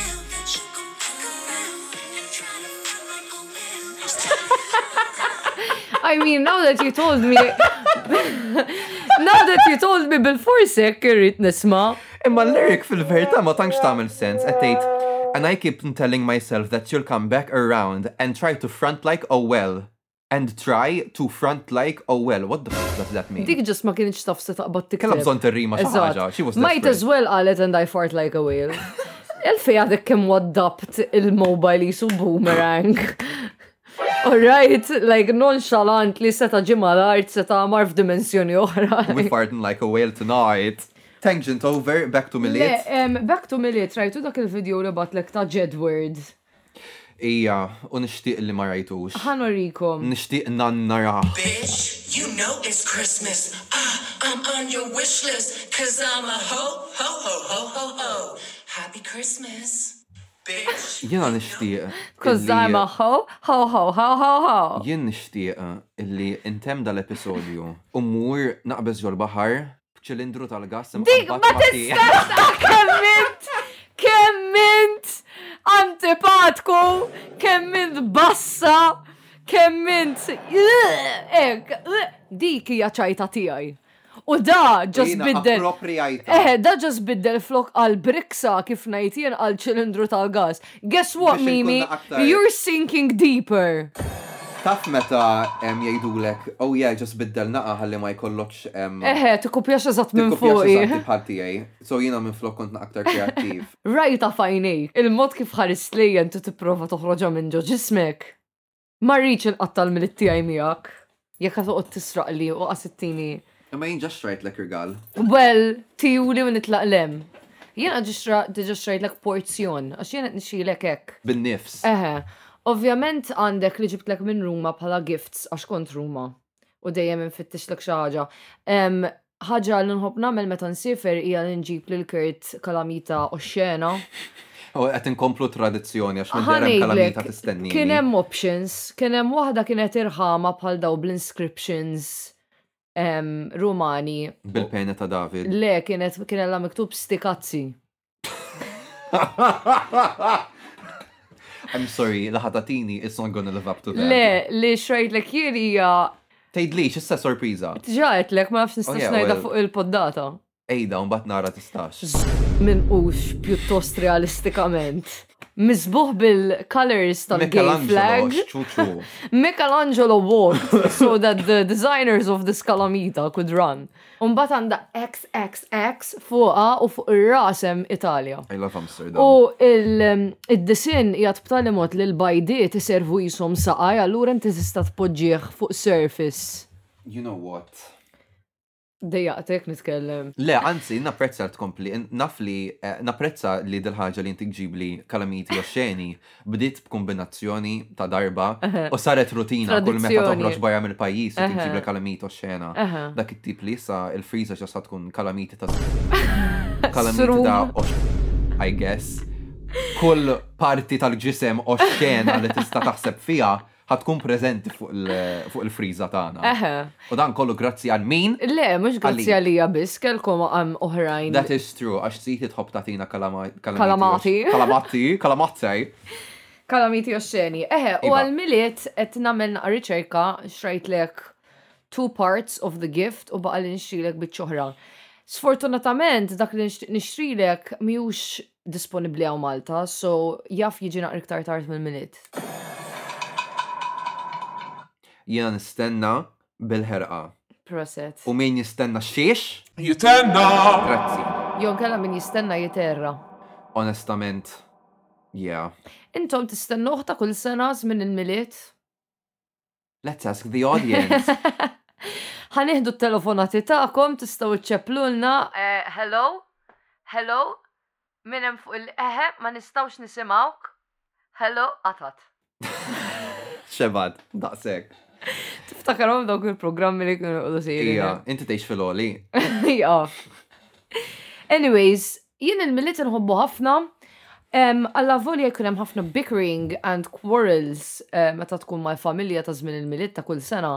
[SPEAKER 3] I mean, now that you told me. Now that you told me bil-forsek irrit nisma.
[SPEAKER 5] Imma l-lyric fil-verità ma tantx tagħmel sens qed tgħid And I keep on telling myself that you'll come back around and try to front like a well. And try to front like a well. What the fuck does that mean?
[SPEAKER 3] Dik ġus ma kienx taf se taqbad tikteb.
[SPEAKER 5] Kellha bżonn tirrima xi
[SPEAKER 3] Eżatt.
[SPEAKER 5] ħaġa. She was
[SPEAKER 3] Might as
[SPEAKER 5] desperate.
[SPEAKER 3] well qalet and I fart like a whale. Elfej għadek kem waddabt il-mobile jisu boomerang. Alright, like nonchalant li seta ġimma l-art seta mar f'dimensjoni oħra.
[SPEAKER 5] We're farting like a whale tonight. Tangent over, back to
[SPEAKER 3] Le,
[SPEAKER 5] Miliet.
[SPEAKER 3] em, back to Millet, rajtu dak il-video li batlek ta' Jedward.
[SPEAKER 5] Ija, u nixtieq li uh, ma rajtux. Mm.
[SPEAKER 3] Ħanorikom.
[SPEAKER 5] Nixtieq nan naraħ.
[SPEAKER 7] Bitch, you know it's Christmas. Ah, I'm on your wish list, cause I'm a ho, ho, ho, ho, ho, ho. Happy Christmas. Bitch.
[SPEAKER 5] Jiena nixtieq.
[SPEAKER 3] Cause
[SPEAKER 5] illi-
[SPEAKER 3] I'm a ho, ho, ho, ho, ho, ho.
[SPEAKER 5] Jien nixtieq eh, illi intem dal-episodju u mmur naqbeż ġol baħar b'ċilindru tal-gas
[SPEAKER 3] Dik ma tistax ta' kemmint! Kemmint! Antipatku! Kemmint bassa! Kemmint! Ek! Dik hija ċajta tiegħi. U da ġas biddel. Eh, da ġas biddel flok għal briksa kif najtien għal ċilindru tal-gas. Guess what,
[SPEAKER 5] Biex
[SPEAKER 3] Mimi?
[SPEAKER 5] inkunna aktar-
[SPEAKER 3] You're sinking deeper.
[SPEAKER 5] Taf meta em jgħidulek, oh yeah, ġas biddel naqa ħalli ma jkollokx em.
[SPEAKER 3] Eħe, t-kupjax eżat Eh, minn
[SPEAKER 5] tikkopjax eżatt
[SPEAKER 3] fuqi.
[SPEAKER 5] il-bħal tiegħi. So jiena minn flok kont naqtar kreattiv.
[SPEAKER 3] Rajta fajnej, il-mod kif ħares lejja intu tipprova toħroġa minn ġo ġismek. Ma rridx inqattal mill-ittijaj miegħek. Jekk qed toqgħod tisraq li u qassittini.
[SPEAKER 5] Imma jien ġax rajt lek irgal.
[SPEAKER 3] Well, tiuli u nitlaq lem. Jiena ġisra diġa xrajlek porzjon, għax jiena qed nixilek hekk.
[SPEAKER 5] Bin-nifs.
[SPEAKER 3] Eħe, ovvjament għandek li ġibtlek minn Ruma bħala gifts għax kont Ruma u dejjem infittixlek xi ħaġa. Em, Ħaġa li nħobb nagħmel meta nsifer hija li nġib lil Kurt kalamita u xena.
[SPEAKER 5] U qed Oh, inkomplu tradizzjoni għax minn derem kalamita
[SPEAKER 3] Ħanejdlek,
[SPEAKER 5] tistenni.
[SPEAKER 3] kien hemm options, kien hemm waħda kienet irħama bħal daw bl-inscriptions em, rumani.
[SPEAKER 5] Bil-pena ta' David.
[SPEAKER 3] Le, kienet kien hemm miktub stikazzi.
[SPEAKER 5] I'm sorry, laħatatini is not gonna live up to that.
[SPEAKER 3] Le, li xrajtlek jien hija
[SPEAKER 5] Tgħidli, x'issa sorpriża.
[SPEAKER 3] ġaetlek ma nafx
[SPEAKER 5] Oh, yeah,
[SPEAKER 3] nistax ngħidha
[SPEAKER 5] well.
[SPEAKER 3] fuq il-poddata.
[SPEAKER 5] Ejda, un bat nara tistax.
[SPEAKER 3] Min ux pjuttost realistikament. Mizbuħ bil-colors tal-gay
[SPEAKER 5] Michelangelo,
[SPEAKER 3] flag.
[SPEAKER 5] xċuċu.
[SPEAKER 3] Michelangelo walked so that the designers of this calamita could run. Umbat għanda XXX fuqa u fuq ir-rasem Italja.
[SPEAKER 5] I love Amsterdam.
[SPEAKER 3] U il-disin jgħat b'tali mod li l-bajdiet iservu jisom saqaj, allura inti tista' tpoġġieħ fuq surface.
[SPEAKER 5] You know what?
[SPEAKER 3] Dejjaqtek nitkellem.
[SPEAKER 5] Le, anzi, napprezza tkompli, naf li, eh, napprezza li dil-ħagġa li intik ġibli kalamiti u xeni, bdiet b'kombinazzjoni ta' darba u saret rutina kull meta
[SPEAKER 3] Tradizzjoni.
[SPEAKER 5] toħroġ barra mill pajjiż u
[SPEAKER 3] Eħe.
[SPEAKER 5] tiġibli kalamiti u xena.
[SPEAKER 3] Eħe.
[SPEAKER 5] Dak it-tip li sa il-friża ġa sa tkun kalamiti ta' kalamiti
[SPEAKER 3] Srum.
[SPEAKER 5] ta' ox- I guess. Kull parti tal-ġisem u xena li tista' taħseb fija ħatkun preżenti fuq il- fuq il-friża tagħna.
[SPEAKER 3] Eħe.
[SPEAKER 5] U dan kollu grazzi għal min?
[SPEAKER 3] Le, mux grazzi għalija biss, kelkom għam oħrajn.
[SPEAKER 5] That is true, għax si titħob tatina kalamati.
[SPEAKER 3] Kalamati.
[SPEAKER 5] Kalamati, kalamati.
[SPEAKER 3] Kalamiti oxxeni. Eħe, u
[SPEAKER 5] Iva.
[SPEAKER 3] għal-miliet et namen riċerka xrajtlek two parts of the gift u baqa li nixtrilek bitċoħra. Sfortunatament, dak li nix- nixtrilek miux disponibli għaw Malta, so jaff jiġi naqri ktar tard mill-miliet.
[SPEAKER 5] Jena nistenna bil-ħerqa.
[SPEAKER 3] Proset.
[SPEAKER 5] U min jistenna xiex?
[SPEAKER 4] Jistenna,
[SPEAKER 5] Grazzi.
[SPEAKER 3] Jon kalla min jistenna jiterra.
[SPEAKER 5] Onestament, yeah.
[SPEAKER 3] Intom tistennuħ ta' kull sena minn il-miliet?
[SPEAKER 5] Let's ask the audience.
[SPEAKER 3] ħaniħdu t-telefonati ta'kom, tistaw iċċeplulna. Eh, Hello? Hello? Minem fuq il-eħe, ma nistawx nisimawk? Hello? Atat.
[SPEAKER 5] xebad, daqsek.
[SPEAKER 3] Tiftakarhom dawk il-programmi li kienu jqogħdu sejrin.
[SPEAKER 5] Ija, inti teħx fil-oli.
[SPEAKER 3] Jaf. Anyways, jien il-millit nħobbu ħafna. Em, Alla volja jkun hemm ħafna bickering and quarrels eh, meta tkun ma' familja ta' żmien il-millit ta' kull sena.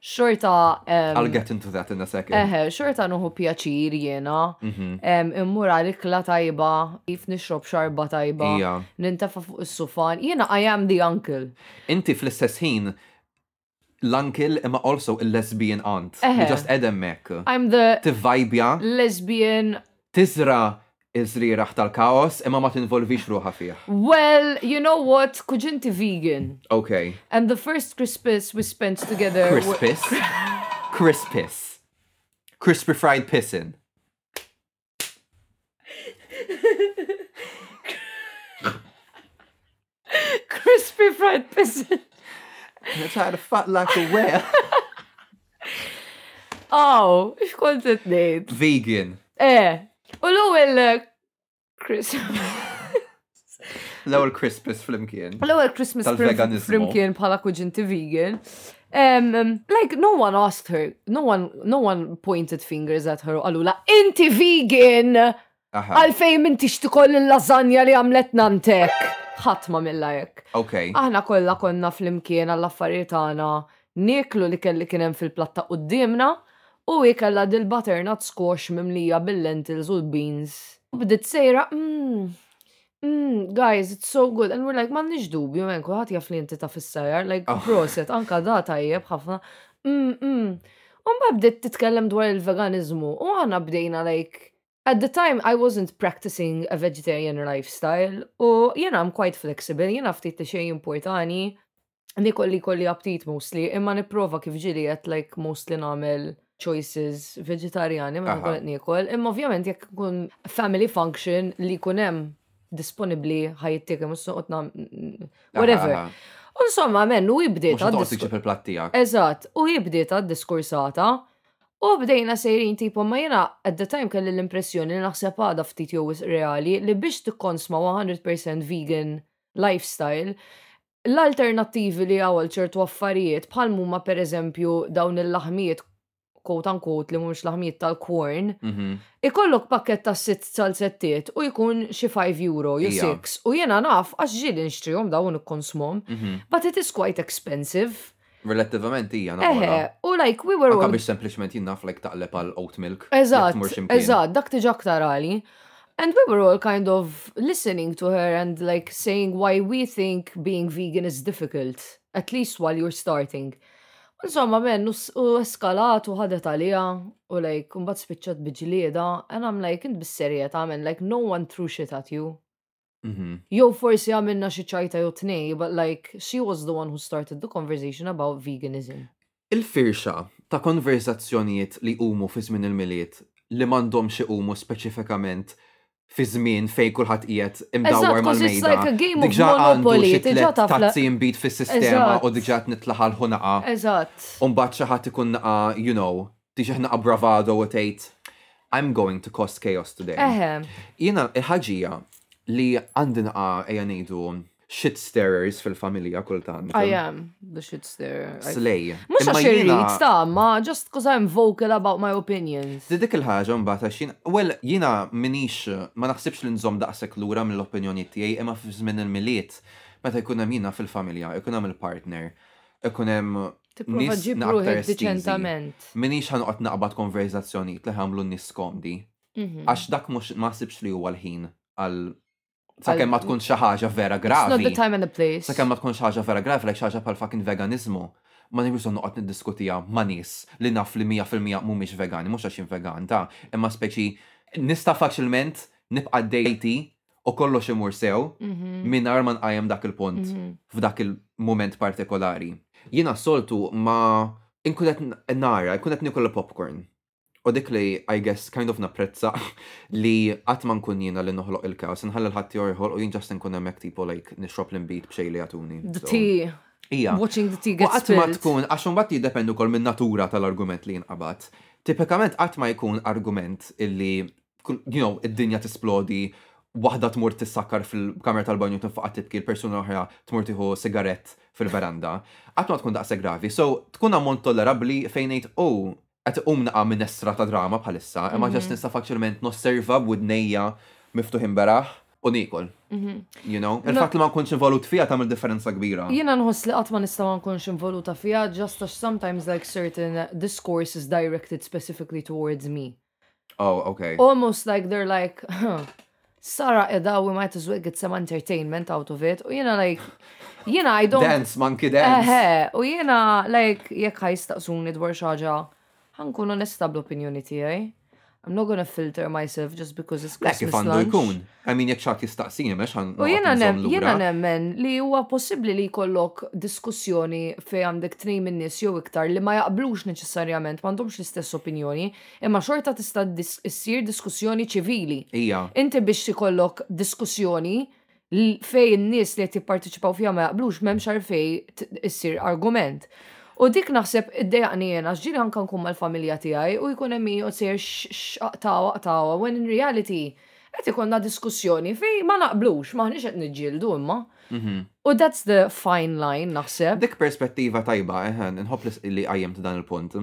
[SPEAKER 3] Xorta em,
[SPEAKER 5] I'll get into that in a second.
[SPEAKER 3] Eħe, xorta nuħu pjaċir jena,
[SPEAKER 5] Mhm.
[SPEAKER 3] Em, immur għalikla tajba, jif nixrob xarba tajba,
[SPEAKER 5] Ija.
[SPEAKER 3] nintafa fuq is-sufan, jena I am the uncle.
[SPEAKER 5] Inti fl-istess ħin l-uncle imma also il-lesbian aunt.
[SPEAKER 3] Eħe.
[SPEAKER 5] You just edem mek.
[SPEAKER 3] I'm the
[SPEAKER 5] Tivvajbja,
[SPEAKER 3] lesbian,
[SPEAKER 5] tizra iż-riraħ tal-kaos imma ma tinvolvix ruħa fih.
[SPEAKER 3] Mm. well, you know what, kuġinti vegan.
[SPEAKER 5] Okay.
[SPEAKER 3] And the first Christmas we spent together wa-
[SPEAKER 5] Crispus. Crispus. Crispy fried pissin.
[SPEAKER 3] crispy fried pissin.
[SPEAKER 5] I try to fat like a whale.
[SPEAKER 3] Oh, xkont it-nejt.
[SPEAKER 5] Vegan.
[SPEAKER 3] Eh, u eh, l-ewel Christmas.
[SPEAKER 5] L-ewwel Crispus flimkien.
[SPEAKER 3] L-ewel Christmas
[SPEAKER 5] Tal-veganizmu.
[SPEAKER 3] flimkien bħala kuġinti vegan. Um, um, like no one asked her, no one, no one pointed fingers at her u għalula, inti vegan!
[SPEAKER 5] Aha.
[SPEAKER 3] Għalfej minti xtikoll il-lasagna li għamlet nantek! ħatma mill-lajk.
[SPEAKER 5] Okay.
[SPEAKER 3] Aħna kollha konna flimkien għall-affarijiet tagħna nieklu li kelli kien hemm fil-platta qudiemna u hi kellha dil butternut squash mimlija bil-lentils u l-beans. U bdiet sejra, mmm, Mm, guys, it's so good. And we're like, man nix dubju, men, kuħat jaf li inti ta' fissajjar, like,
[SPEAKER 5] Oh.
[SPEAKER 3] proset, anka da tajjeb, ħafna. Mm, mm. Umba bdiet titkellem dwar il-veganizmu, u għana bdejna, like, at the time I wasn't practicing a vegetarian lifestyle, u jena I'm quite flexible, jena ftit li xej importani, nikolli kolli aptit mostly, imma niprofa kif ġili għet, like, mostly namel choices vegetariani, ma
[SPEAKER 5] Aha.
[SPEAKER 3] nkoll nikol, imma ovvjament jek kun family function li kunem disponibli ħajittik, mus-soqot nam, whatever. U Insomma, men, u jibdiet
[SPEAKER 5] Mux għadqos
[SPEAKER 3] għad-diskur.
[SPEAKER 5] iġib il-plattijak.
[SPEAKER 3] Eżat, u jibdiet għad-diskursata. U bdejna sejrin tipo, ma jena at the time kelli l-impressjoni li naħseb għada ftit jew wisq reali li biex tikkonsma 100% vegan lifestyle, l-alternativi li għawal ċertu affarijiet bħal mumma per eżempju dawn il-laħmijiet quote unquote li mhumiex laħmijiet tal-korn,
[SPEAKER 5] Mhm.
[SPEAKER 3] ikollok pakket ta' sitt salsettiet u jkun xi 5 euro, jew
[SPEAKER 5] Ija.
[SPEAKER 3] 6, u jena naf għax ġili nixtrihom dawn ikkonsmom,
[SPEAKER 5] Mhm.
[SPEAKER 3] but it is quite expensive.
[SPEAKER 5] Relattivament hija
[SPEAKER 3] Eħe,
[SPEAKER 5] naqra.
[SPEAKER 3] u like we were
[SPEAKER 5] Anka
[SPEAKER 3] on...
[SPEAKER 5] biex sempliċement jinnaf like taqleb għal oat milk. jekk
[SPEAKER 3] Eżat,
[SPEAKER 5] tmur ximkien.
[SPEAKER 3] eżat, dak tiġa aktar għali. And we were all kind of listening to her and like saying why we think being vegan is difficult, at least while you're starting. Insomma, men, u s- u eskalat u ħadet għalija u like, un bat spiċċat biġlieda, and I'm like, int bis-serjet, għamen, like, no one threw shit at you.
[SPEAKER 5] Mhm.
[SPEAKER 3] Jow forsi għamilna xi ċajta jew tnej, but like, she was the one who started the conversation about veganism.
[SPEAKER 5] Il-firxa ta' konverzazzjonijiet li umu fi żmien il-miliet li mandom xi umu speċifikament fi żmien fej kulħadd qiegħed imdawwar
[SPEAKER 3] Eżatt, 'cause it's
[SPEAKER 5] mal-mejda.
[SPEAKER 3] like a game of
[SPEAKER 5] Diġà għandu
[SPEAKER 3] Monopoly,
[SPEAKER 5] xi
[SPEAKER 3] diġà
[SPEAKER 5] tliet
[SPEAKER 3] taf la-
[SPEAKER 5] tazzi imbit fis-sistema
[SPEAKER 3] Eżatt.
[SPEAKER 5] u diġà qed nitlaħal ħunaqa.
[SPEAKER 3] Eżat.
[SPEAKER 5] U mbagħad xi ħadd ikun naqa, you know, diġà ħnaqa bravado u tgħid I'm going to cause chaos today.
[SPEAKER 3] Eħe,
[SPEAKER 5] Jiena il-ħaġija li għandi naqa ejja ngħidu shit stirrers fil-familja kultant.
[SPEAKER 3] I am. The shit's there. I
[SPEAKER 5] Slej.
[SPEAKER 3] Mux
[SPEAKER 5] Imma
[SPEAKER 3] Ah, għax irrit,
[SPEAKER 5] jiena-
[SPEAKER 3] ta' ma, just because I'm vocal about my opinions.
[SPEAKER 5] Di dik il-ħaġa mbagħad għax jien, well, jiena minix ma naħsibx li nżomm daqshekk lura mill-opinjoni tiegħi imma fi żmien il-miliet meta jkun hemm jiena fil-familja, ikun hemm il-partner, ikun hemm
[SPEAKER 3] Tipprova
[SPEAKER 5] nis
[SPEAKER 3] ġib
[SPEAKER 5] naqtar
[SPEAKER 3] ruħek
[SPEAKER 5] estizi.
[SPEAKER 3] diċentament.
[SPEAKER 5] minix ħanqod naqbad konverzazzjonijiet li ħamlu n-nies komdi.
[SPEAKER 3] Mhm.
[SPEAKER 5] Għax dak mhux ma naħsibx li huwa l-ħin għal sakemm ma tkun xi ħaġa vera
[SPEAKER 3] It's not
[SPEAKER 5] gravi.
[SPEAKER 3] the time and the place.
[SPEAKER 5] Sakemm ma tkun xi ħaġa vera gravi, like xi ħaġa bħal fucking veganizmu. Ma nibżu noqgħod niddiskutija ma' nies li naf li 100% mhumiex vegani, mhux għax jien vegan, ta' imma speċi nista' faċilment nibqa' dejti u kollox imur sew mingħajr ma nqajjem dak il-punt f'dak il-moment partikolari. Jiena soltu ma inkun qed nara, inkun qed nikol popcorn. U dik li, I guess, kind of napprezza li qatt ma nkun jiena li noħloq il-kaos, nħallil ħadd jorħol u jien just nkun hemmhekk tipo like nixrob l-imbit b'xej li jagħtuni.
[SPEAKER 3] The
[SPEAKER 5] So,
[SPEAKER 3] tea.
[SPEAKER 5] Ija.
[SPEAKER 3] Watching the tea
[SPEAKER 5] U
[SPEAKER 3] get
[SPEAKER 5] qatt ma
[SPEAKER 3] spilled.
[SPEAKER 5] tkun, għax mbagħad jiddependu kol minn natura tal-argument li jinqabad. Tipikament qatt ma jkun argument illi, kull- you know, id-dinja tisplodi waħda tmur tissakkar fil-kamra tal-banju tinfaqa tibki l-persuna oħra tmur tieħu sigarett fil-veranda, qatt ma tkun daqsa gravi. So tkun ammont tollerabbli fejn ngħid oh, qed iqum naqa' minestra ta' drama bħalissa, imma ġest nista' faċilment nosserva b'udnejja miftuħin beraħ u nikol. You know, il-fatt li ma nkunx involut fija tagħmel differenza kbira.
[SPEAKER 3] Jena nħoss li għatma nista ma nkunx involuta fija, just as sometimes like certain discourse is directed specifically towards me.
[SPEAKER 5] Oh, okay.
[SPEAKER 3] Almost like they're like, huh, Sarah edha, we might as well get some entertainment out of it. U jena like, jena I don't...
[SPEAKER 5] Dance, monkey dance.
[SPEAKER 3] Eħe, u jena like, jekk ħajstaqsuni dwar xaġa, ħankun onesta bl-opinjoni tiegħi. I'm not gonna filter myself just because it's
[SPEAKER 5] Lek kif
[SPEAKER 3] Christmas
[SPEAKER 5] għandu
[SPEAKER 3] lunch.
[SPEAKER 5] jkun. I mean, jek xaħt jistaqsini, mex għan.
[SPEAKER 3] U jena nem, jena nemmen li huwa possibbli li jkollok diskussjoni fej għandek tnej minn nies jew iktar li ma jaqblux neċessarjament, m'għandhomx l-istess opinjoni, imma xorta tista' dis issir diskussjoni ċivili.
[SPEAKER 5] Ija.
[SPEAKER 3] Inti biex ikollok diskussjoni l- fej n-nies li qed jipparteċipaw fiha ma jaqblux m'hemmx għalfej issir argument. U dik naħseb id-dejaqni jena, xġiri anka nkun mal-familja tiegħi u jkun hemm u sejr x'aqtawa aqtawa, when in reality qed ikonna diskussjoni fej ma naqblux, maħniex qed niġġieldu imma. U that's the fine line naħseb.
[SPEAKER 5] Dik perspettiva tajba, eħen, nħoblis li għajjem dan il-punt.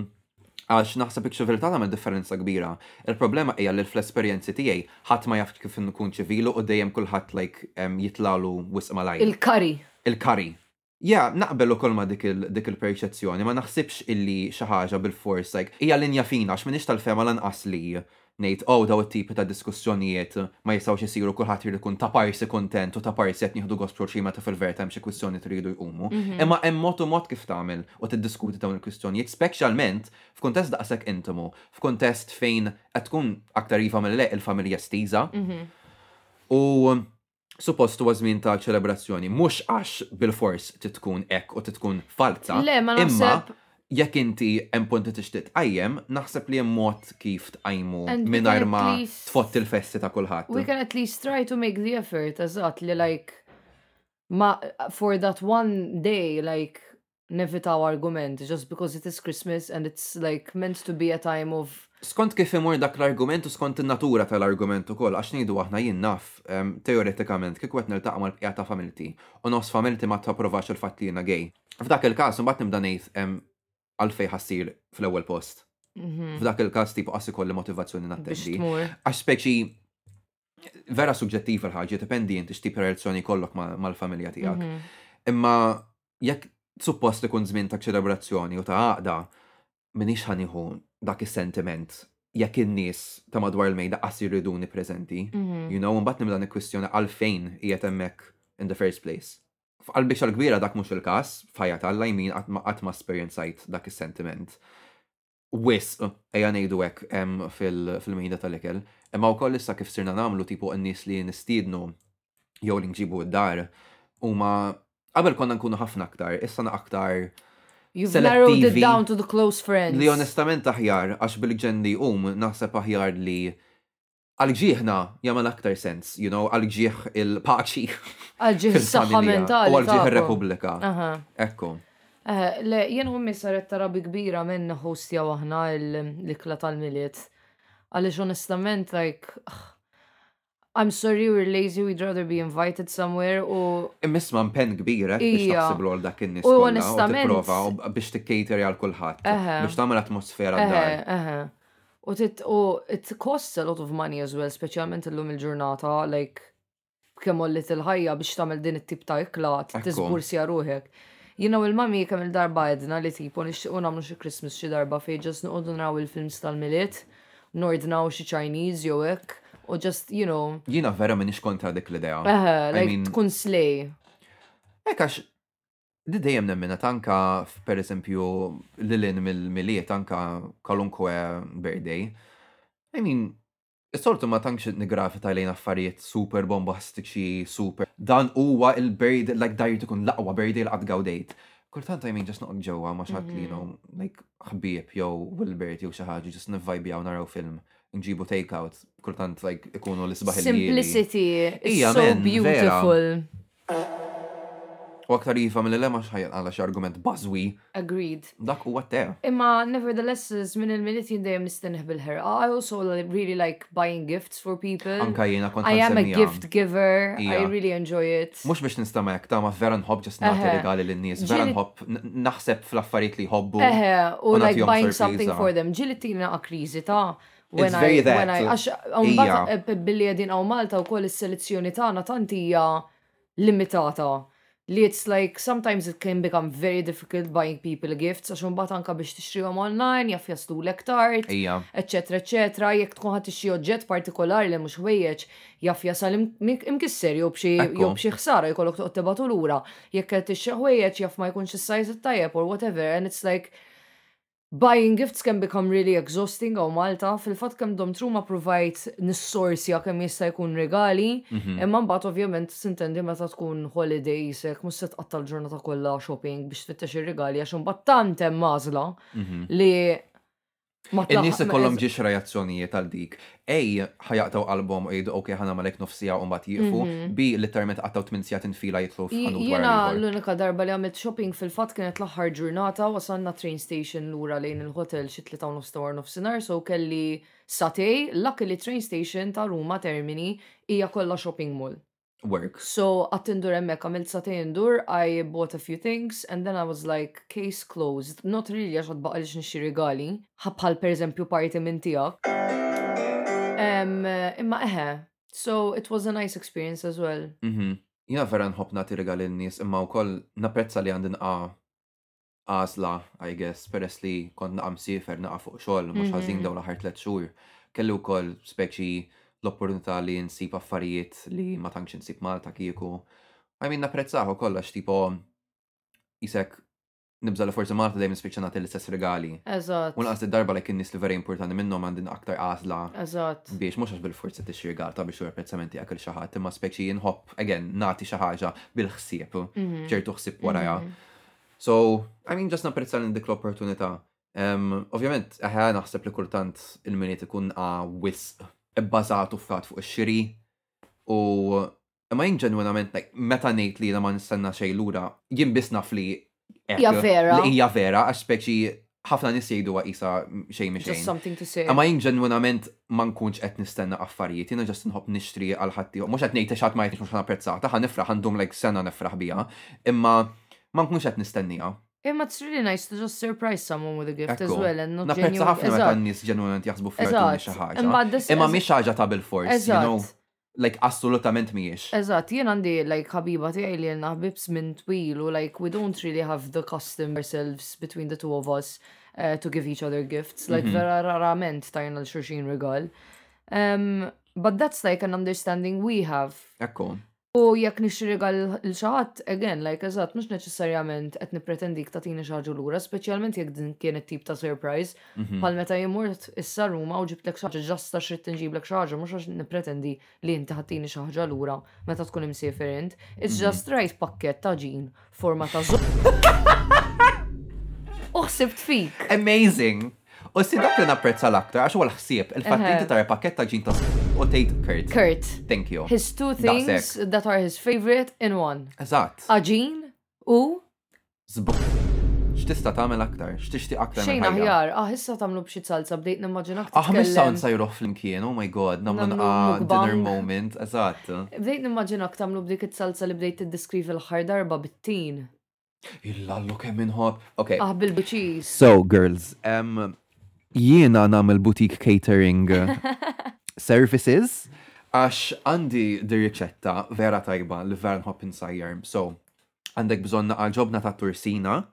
[SPEAKER 5] Għax naħseb iċ-ċiviltà tagħmel differenza kbira. Il-problema hija li fl-esperjenzi tiegħi ħadd ma jaf kif nkun ċivilu u dejjem kulħadd like em, jitlalu wisq malajr.
[SPEAKER 3] Il-kari.
[SPEAKER 5] Il-kari. Ja, naqbel ukoll ma dik il- dik il-perċezzjoni, ma naħsibx illi xi ħaġa bil-fors like hija linja fina għax m'iniex tal-fema lanqas li ngħid oh daw it-tipi ta' diskussjonijiet ma jistgħux isiru kulħadd jrid ikun ta' parsi kontent u ta' parsi qed nieħdu gospru xi meta fil-verta hemm xi kwistjoni tridu jqumu. Imma hemm mod u mod kif tagħmel u tiddiskuti dawn il-kwistjonijiet, speċjalment f'kuntest daqshekk intimu, f'kuntest fejn qed tkun aktar iva mill-leq il-familja stiża. U um, suppost huwa żmien ta' ċelebrazzjoni, mhux għax bil-fors titkun ek u titkun falsa.
[SPEAKER 3] Le, ma naħseb-
[SPEAKER 5] Imma jekk inti hemm punti tixtieq tqajjem, naħseb li hemm mod kif tqajmu
[SPEAKER 3] And we
[SPEAKER 5] mingħajr
[SPEAKER 3] can
[SPEAKER 5] ma
[SPEAKER 3] at least-
[SPEAKER 5] tfott il-festi ta' kulħadd.
[SPEAKER 3] We can at least try to make the effort, eżatt, li like, ma, for that one day, like, nevitaw argument, just because it is Christmas and it's like meant to be a time of,
[SPEAKER 5] Skont kif imur dak l-argument u skont in-natura tal-argument ukoll għax ngħidu aħna jien naf em, teoretikament kif qed niltaqa' mal-bqija ta' familti u nos familti ma tapprovax il-fatt li jiena gej. F'dak il-każ imbagħad nibda ngħid em, għalfej ħassir fl-ewwel post. F'dak il-każ tipo qas ikolli motivazzjoni
[SPEAKER 3] Mhm. biex
[SPEAKER 5] nattendi.
[SPEAKER 3] tmur.
[SPEAKER 5] għax speċi vera suġġettiv l-ħagġa, dependi inti x'tip relazzjoni kollok ma- mal-familja tiegħek.
[SPEAKER 3] Mhm.
[SPEAKER 5] Imma jekk suppost ikun żmien ta' ċelebrazzjoni u ta' għaqda, minix ħaniħu dak is-sentiment jekk in-nies ta' madwar il-mejda qas jirriduni preżenti. You know, mbagħad nibda nikkwistjoni għalfejn qiegħed hemmhekk in the first place. F'qalbi xar kbira dak mhux il-każ, f'ħajja tal jmin qatt ma- qatt ma esperjenzajt dak is-sentiment wis eja nejdu hekk hemm fil- fil-mejda tal-ikel. Imma wkoll issa kif sirna nagħmlu tipo n-nies li nistiednu jew li nġibu d-dar huma qabel konna nkunu ħafna aktar, issa na aktar
[SPEAKER 3] You've narrowed it
[SPEAKER 5] Selettivi.
[SPEAKER 3] down to the close friends.
[SPEAKER 5] li onestament aħjar għax bil-ġen li hum naħseb aħjar li għal-ġieħna jagħmel aktar sens, you know, għal-ġieħ il-paċi.
[SPEAKER 3] Għalġi s-saxħa
[SPEAKER 5] fil-familja
[SPEAKER 3] mentali. Ah.
[SPEAKER 5] U għal-ġieħ
[SPEAKER 3] tagħkom.
[SPEAKER 5] il-Repubblika.
[SPEAKER 3] Aha.
[SPEAKER 5] Ekku.
[SPEAKER 3] Eh, Le, jien hummi saret tarabi kbira minn hostja waħna l-ikla tal-miliet. Għalix onestament, like, ugh, I'm sorry, we're lazy, we'd rather be invited somewhere u
[SPEAKER 5] Immisma pen kbira biex
[SPEAKER 3] Ija.
[SPEAKER 5] taħsiblu għal dak in-nies
[SPEAKER 3] U
[SPEAKER 5] kollha u
[SPEAKER 3] onestament-
[SPEAKER 5] tipprova u b- biex tikkateri għal kulħadd
[SPEAKER 3] Eħe.
[SPEAKER 5] biex tagħmel atmosfera d-dar.
[SPEAKER 3] Eħe, eħe. Eh, U tit, u it costs a lot of money as well, specialment l-lum il-ġurnata, like, kemm ollit il-ħajja biex tagħmel din it-tip ta' ikla,
[SPEAKER 5] Ekku.
[SPEAKER 3] t-tizbursja ruħek. Jina u l-mami kemm il-darba għedna li tipo nixtiqu nagħmlu xi Christmas xi darba fej ġas nuqodu naraw il-films tal-miliet, nordnaw xi Chinese jew hekk, u just, you know,
[SPEAKER 5] Jina vera minix kontra dik l-idea.
[SPEAKER 3] eħe,
[SPEAKER 5] I
[SPEAKER 3] like
[SPEAKER 5] mean,
[SPEAKER 3] tkun slej.
[SPEAKER 5] Ek għax, di dejjem nemmina tanka, f- per eżempju, l-lin mill-miliet tanka kalunkwe birthday. I mean, Is-soltu ma tankx nigrafita lejn affarijiet super bombastiċi, super. Dan huwa il-bird, like dajr ikun l-aqwa bird li qatt gawdejt. Kultant I mean just noqgħod ġewwa ma xatt li no like ħbieb jew Wilbert jew xi ħaġa just nivvajbjaw naraw film nġibu takeout kultant like ikunu l-isbaħ
[SPEAKER 3] Simplicity is
[SPEAKER 5] Ija,
[SPEAKER 3] so
[SPEAKER 5] men, vera.
[SPEAKER 3] beautiful.
[SPEAKER 5] U aktar jifa mill-le ma xħajan għala xi argument bażwi,
[SPEAKER 3] Agreed.
[SPEAKER 5] dak huwa tew.
[SPEAKER 3] Imma nevertheless, zmin il-minit jindajem nistenħ bil-ħerqa. I also li- really like buying gifts for people.
[SPEAKER 5] Anka jiena kont
[SPEAKER 3] I am a
[SPEAKER 5] nsemmija.
[SPEAKER 3] gift giver. I
[SPEAKER 5] Ija.
[SPEAKER 3] really enjoy it.
[SPEAKER 5] Mux biex nistama jek ta' ma vera nħobb ġas nagħti
[SPEAKER 3] Eħe.
[SPEAKER 5] regali lin-nies, vera
[SPEAKER 3] Ġili-
[SPEAKER 5] nħobb n- naħseb fl-affarijiet li jħobbu.
[SPEAKER 3] Eħe, u like
[SPEAKER 5] nagħtihom
[SPEAKER 3] buying something
[SPEAKER 5] sorpriża.
[SPEAKER 3] for them. Ġili tina krizi ta' when
[SPEAKER 5] It's
[SPEAKER 3] I,
[SPEAKER 5] very that.
[SPEAKER 3] when I, għax
[SPEAKER 5] Ija.
[SPEAKER 3] għumbat billi għedin għaw Malta u koll il-selezzjoni ta' għana tantija limitata. Li it's like sometimes it can become very difficult buying people gifts għax mbagħad anka biex tixtrihom online, jaff jaslu l-ektart.
[SPEAKER 5] Ija.
[SPEAKER 3] eccetera, eccetera, jekk tkun ħadd xi oġġett partikolari li mhux ħwejjeġ jaf jasal im- mik- imkisser jew b'xi
[SPEAKER 5] Ekku.
[SPEAKER 3] jew b'xi ħsara jkollok toqgħod tibatu lura, jekk qed tixxi ħwejjeġ jaf ma jkunx is-sajż it-tajjeb or whatever and it's like Buying gifts can become really exhausting għaw Malta, fil-fat kem dom truma provajt nissorsja kem jista jkun regali,
[SPEAKER 5] Mm.
[SPEAKER 3] imma mbagħad ovvjament sintendi meta tkun holidays, jek mus set għatta l-ġurnata kollha shopping biex tfittex ir-regali għax imbagħad tant hemm mażla li ma
[SPEAKER 5] Il-nis
[SPEAKER 3] tlaħħaq-
[SPEAKER 5] Mhm. ikollhom ġiex reazzjonijiet għal dik. Ej, ħajaqtaw album u jgħidu okej ħana malek nofsija u mbagħad jieqfu,
[SPEAKER 3] Mhm.
[SPEAKER 5] bi literalment qataw tmien sigħat infila jitlu f'ħanut wara
[SPEAKER 3] Jena
[SPEAKER 5] ieħor.
[SPEAKER 3] l-unika darba li għamilt shopping fil-fat kienet l-aħħar ġurnata wasanna train station lura lejn il-hotel xi tlieta u nofs tawar nofsinhar so kelli satej lak li train station ta' Ruma Termini hija kollha shopping mall.
[SPEAKER 5] Works.
[SPEAKER 3] So għatt indur emmek, għamilt satej indur, I bought a few things and then I was like, case closed. Not really għax għad baqa lix nixi regali, ħabħal per eżempju parti minn tijak. Em, Imma eħe, eh, so it was a nice experience as well.
[SPEAKER 5] Mhm. Jena vera nħobb nagħti regali n-nies imma wkoll napprezza li għandin qa għażla, I guess, peress li kont naqam sifer naqa fuq xogħol mhux ħażin dawn l-aħħar tliet xhur. Kelli wkoll speċi l-opportunità li nsib affarijiet li ma tantx insib Malta kieku. I mean napprezzaħu kollox tipo isek nibża li forsi Malta dejjem nispiċċa nagħti l-istess regali.
[SPEAKER 3] Eżat.
[SPEAKER 5] U naqas id-darba li kien nies li vera importanti minnhom għandin aktar għażla
[SPEAKER 3] Eżat.
[SPEAKER 5] biex mhux għax bil-forza tixri għalta biex u reprezzamenti għakil xaħat, imma speċi jinħobb, again, nati xaħġa bil-ħsieb,
[SPEAKER 3] Mhm.
[SPEAKER 5] ċertu ħsieb waraja. So, I mean, just napprezza l dik l-opportunità. Um, Ovvjament, eħe naħseb li kultant il-miniet ikun għa wisq, bbażatu fkat fuq ix-xiri, u imma jien ġenwinament, like, meta ngħid li jiena ma nistenna xejn lura, jien biss naf li hekk,
[SPEAKER 3] Hija vera.
[SPEAKER 5] Li hija vera, għax speċi ħafna nies jgħidu għisa xejn mi
[SPEAKER 3] Just
[SPEAKER 5] xejn.
[SPEAKER 3] something to say.
[SPEAKER 5] Ma jien ġenwinament ma nkunx qed nistenna affarijiet, jiena ġast nħobb nixtri għal ħadd ieħor. Mhux qed ngħid xatt ma jgħidx mhux napprezzata, ħa nifraħ għandhom like sena nifraħ biha, imma ma nkunx qed nistennija.
[SPEAKER 3] Imma it's really nice to just surprise someone with a gift as
[SPEAKER 5] Ekku.
[SPEAKER 3] well and not
[SPEAKER 5] Napprezza
[SPEAKER 3] genuine.
[SPEAKER 5] ħafna meta
[SPEAKER 3] Eżatt.
[SPEAKER 5] n-nies ġenwinament jaħsbu
[SPEAKER 3] Eżatt.
[SPEAKER 5] fl-artuni xi
[SPEAKER 3] Imma
[SPEAKER 5] ħaġa.
[SPEAKER 3] this
[SPEAKER 5] Imma
[SPEAKER 3] is-
[SPEAKER 5] mhix ħaġa ta' bil-fors, you
[SPEAKER 3] Eżatt.
[SPEAKER 5] know, like assolutament mhijiex.
[SPEAKER 3] Eżat, jien għandi like ħabiba tiegħi li għandna ħbibs minn twil u like we don't really have the custom ourselves between the two of us uh, to give each other gifts. Like vera rarament tajna l-xurxin regal. Um, but that's like an understanding we have.
[SPEAKER 5] Ekku.
[SPEAKER 3] U jekk nixtri regal l-xaħat, again, like eżat, mux neċessarjament qed nipretendik tatini xaġu lura, speċjalment jekk din kienet tip ta' surprise, Pal meta jimmort issa Ruma u ġiblek xaġa, ġasta xrit nġiblek xaġa, mux għax nipretendi li inti ħattini xaħġa l-ura meta tkun imsefer int. It's just right pakket ta' ġin, forma ta' zo. Uħsibt fik.
[SPEAKER 5] Amazing! U si dak li napprezza l-aktar, għax huwa l-ħsieb, il-fatt li
[SPEAKER 3] Eħe.
[SPEAKER 5] inti tara pakketta ġin ta' s- u tgħid Kurt.
[SPEAKER 3] Kurt,
[SPEAKER 5] Thank you.
[SPEAKER 3] his two
[SPEAKER 5] Daqshekk.
[SPEAKER 3] things that are his favorite in one.
[SPEAKER 5] Eżatt.
[SPEAKER 3] Aġin u
[SPEAKER 5] Zbuk. X'tista' tagħmel aktar? X'tixtieq aktar minn
[SPEAKER 3] xejn
[SPEAKER 5] ħajja?
[SPEAKER 3] aħjar, ah issa tamlu b'xi salsa bdejt nimmaġinak
[SPEAKER 5] Ah, mis
[SPEAKER 3] titkellem.
[SPEAKER 5] sound sajru flimkien, oh my god, namlu
[SPEAKER 3] Namlu
[SPEAKER 5] nqa dinner
[SPEAKER 3] mukbang.
[SPEAKER 5] moment, eżatt.
[SPEAKER 3] Bdejt nimmaġinak tamlu b'dik it-salsa li bdejt tiddiskrivi l-ħar darba bit-tin.
[SPEAKER 5] Illa l kemm inħob. Okay.
[SPEAKER 3] Ah, bil-biċis.
[SPEAKER 5] So, girls, um, jiena namel boutique catering uh, services għax għandi di riċetta vera tajba li vera nħobb insajjar. So, għandek bżonna għalġobna ta' tursina,